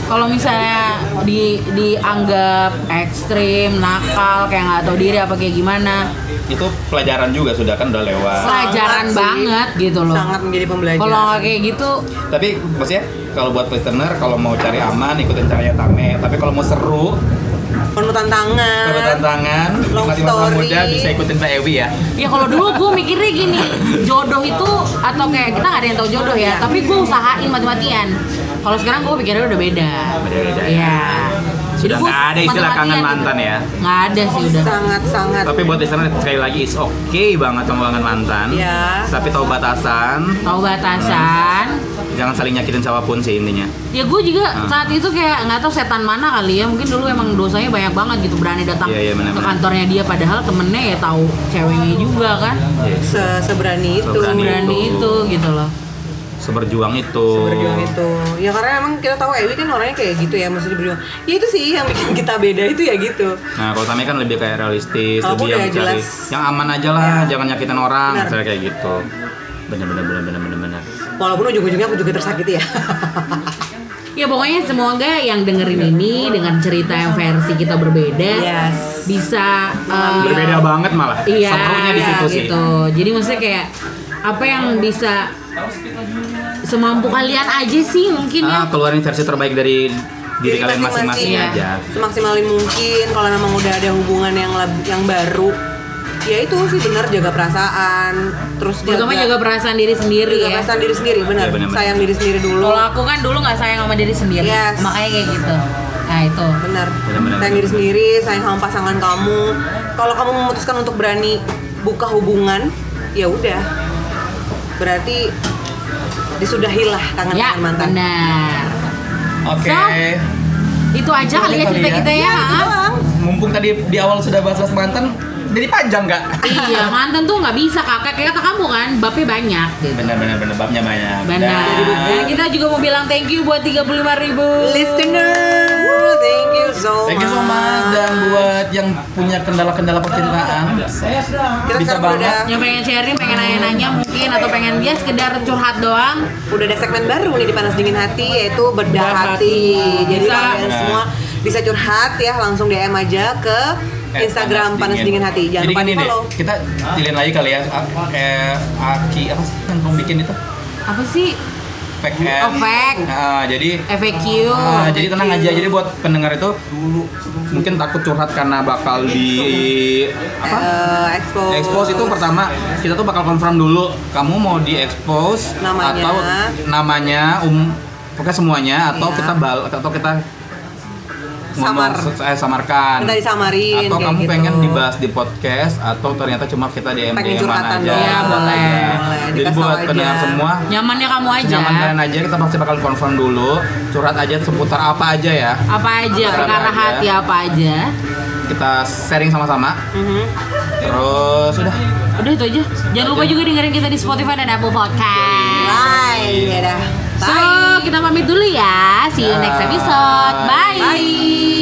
S2: kalau misalnya di dianggap ekstrim nakal kayak nggak tahu diri apa kayak gimana
S1: Itu pelajaran juga sudah kan udah lewat.
S2: pelajaran
S3: Sangat sih.
S2: banget gitu loh
S3: Sangat menjadi
S2: kalau
S3: pembelajaran
S2: nggak kayak gitu
S1: Tapi maksudnya kalau buat listener kalau mau cari aman ikutin caranya Tame. Tapi kalau mau seru,
S3: Penuh tantangan
S1: coba tantangan,
S3: Long
S1: nikmati masa
S3: story.
S1: muda bisa ikutin Pak Ewi ya.
S2: ya kalau dulu gue mikirnya gini jodoh itu atau kayak kita nggak ada yang tahu jodoh ya tapi gue usahain mati-matian kalau sekarang gue pikirnya udah beda
S1: Beda-beda ya.
S2: Iya.
S1: Sudah
S2: Jadi gua
S1: nggak ada istilah
S2: mati-matian
S1: kangen
S2: gitu.
S1: mantan ya.
S2: Nggak ada sih udah.
S3: sangat-sangat
S1: Tapi buat listener sekali lagi it's okay banget sama kangen mantan.
S3: Iya.
S1: Tapi tahu batasan,
S2: Tahu batasan.
S1: jangan saling nyakitin siapapun sih intinya.
S2: Ya gue
S1: Ah.
S2: juga saat itu kayak nggak tahu setan mana kali ya. Mungkin dulu emang dosanya banyak banget gitu berani datang
S1: Iya, iya, benar,
S2: ke
S1: benar.
S2: kantornya dia padahal temennya ya tahu ceweknya juga kan.
S1: Yes.
S3: se- seberani itu
S1: Seberani.
S2: Berani
S1: Itu.
S2: itu gitu loh.
S1: Seberjuang itu.
S3: berjuang itu ya karena emang kita tahu Ewi kan orangnya kayak gitu ya maksudnya berjuang ya itu sih yang bikin kita beda itu ya gitu
S1: Nah, kalau Tami kan lebih kayak realistis,
S3: Aku
S1: lebih
S3: udah
S1: yang cari
S3: jelas. Iya.
S1: yang aman aja lah, jangan nyakitin orang,
S3: Benar.
S1: misalnya kayak gitu. Bener bener bener bener bener bener.
S3: walaupun ujung-ujungnya aku juga tersakiti ya [laughs]
S2: Ya pokoknya semoga yang dengerin ini dengan cerita yang versi kita berbeda
S3: Yes.
S2: bisa eh,
S1: Berbeda banget malah.
S2: Iya,
S1: Serunya di
S2: iya,
S1: situ sih.
S2: gitu. Jadi maksudnya kayak apa yang bisa semampu kalian aja sih mungkin
S3: Iya.
S2: ya.
S1: Ah, keluarin versi terbaik dari diri
S3: Jadi
S1: kalian masing-masing
S3: iya.
S2: masing-masing,
S1: aja.
S3: semaksimalin mungkin kalau memang udah ada hubungan yang lab- yang baru ya itu sih benar jaga perasaan terus
S2: Terutama jaga perasaan diri sendiri
S3: jaga
S2: ya.
S3: Iya. perasaan diri sendiri benar
S1: Iya, benar-benar.
S3: sayang diri sendiri dulu
S2: Kalau aku kan dulu nggak sayang sama diri sendiri,
S3: Yes.
S2: makanya kayak gitu. Nah itu.
S3: benar
S1: Benar-benar.
S3: sayang diri sendiri sayang sama pasangan kamu kalau kamu memutuskan untuk berani buka hubungan ya udah berarti disudahilah kangen
S2: Ya
S3: kangen mantan
S2: benar.
S1: Oke.
S2: So, Itu aja kali ya
S1: Kali
S2: cerita
S1: ya.
S2: kita ya.
S3: Doang.
S1: Mumpung tadi di awal sudah bahas-bahas mantan, jadi panjang nggak?
S2: iya mantan tuh nggak bisa kakak kayak kata kamu kan, bapnya banyak gitu.
S1: Bener bener bener babnya banyak.
S2: Benar. Nah, kita juga mau bilang thank you buat 35.000 ribu.
S3: listener thank you so much
S1: Thank you so much dan buat yang punya kendala-kendala percintaan
S3: Kita
S1: bisa
S3: sekarang
S1: banget.
S3: udah-
S2: yang pengen sharing, pengen nanya-nanya mungkin atau pengen dia sekedar curhat doang
S3: udah ada segmen baru nih di panas dingin hati yaitu bedah
S2: Bedah
S3: hati.
S2: hati.
S3: Jadi
S2: Bisa.
S3: kalian semua bisa curhat ya langsung DM aja ke
S1: Eh,
S3: Instagram panas dingin hati. Jangan
S1: Jadi
S3: lupa
S1: gini
S3: di
S1: deh,
S3: follow.
S1: kita pilihin lagi kali ya. A- eh, Aki apa sih yang kamu bikin itu?
S2: apa sih
S1: PKN.
S2: Oh, fake.
S1: Ah, jadi
S2: FAQ
S3: Oh,
S1: ah, jadi tenang aja. Jadi buat pendengar itu mungkin takut curhat karena bakal di apa?
S3: Eh, expose.
S1: Expose itu pertama kita tuh bakal confirm dulu kamu mau di expose
S3: Namanya.
S1: atau namanya um pokoknya semuanya atau
S3: Iya.
S1: kita bal atau kita
S3: Samar.
S1: ngomong- eh, samarkan
S3: Kita disamarin
S1: atau
S3: kayak
S1: kamu
S3: gitu.
S1: pengen dibahas di podcast atau ternyata cuma kita DM
S3: Pengen
S1: DM
S3: curhatan
S1: aja.
S3: doang.
S2: Iya, boleh.
S3: Boleh,
S1: Jadi
S3: dikasih
S1: buat
S3: tahu
S1: pendengar
S3: aja.
S1: semua
S2: nyamannya kamu aja
S1: nyaman kalian aja kita pasti bakal confirm dulu curhat aja seputar apa aja ya
S2: apa aja
S1: Apa
S2: perkara
S1: aja.
S2: hati apa aja
S1: kita sharing sama-sama
S3: Mhm.
S1: terus sudah
S2: udah itu aja jangan lupa juga dengerin kita di Spotify dan Apple Podcast
S3: Bye. Ya
S1: Ya.
S3: dah.
S2: so kita pamit dulu ya see you next episode bye.
S3: Bye.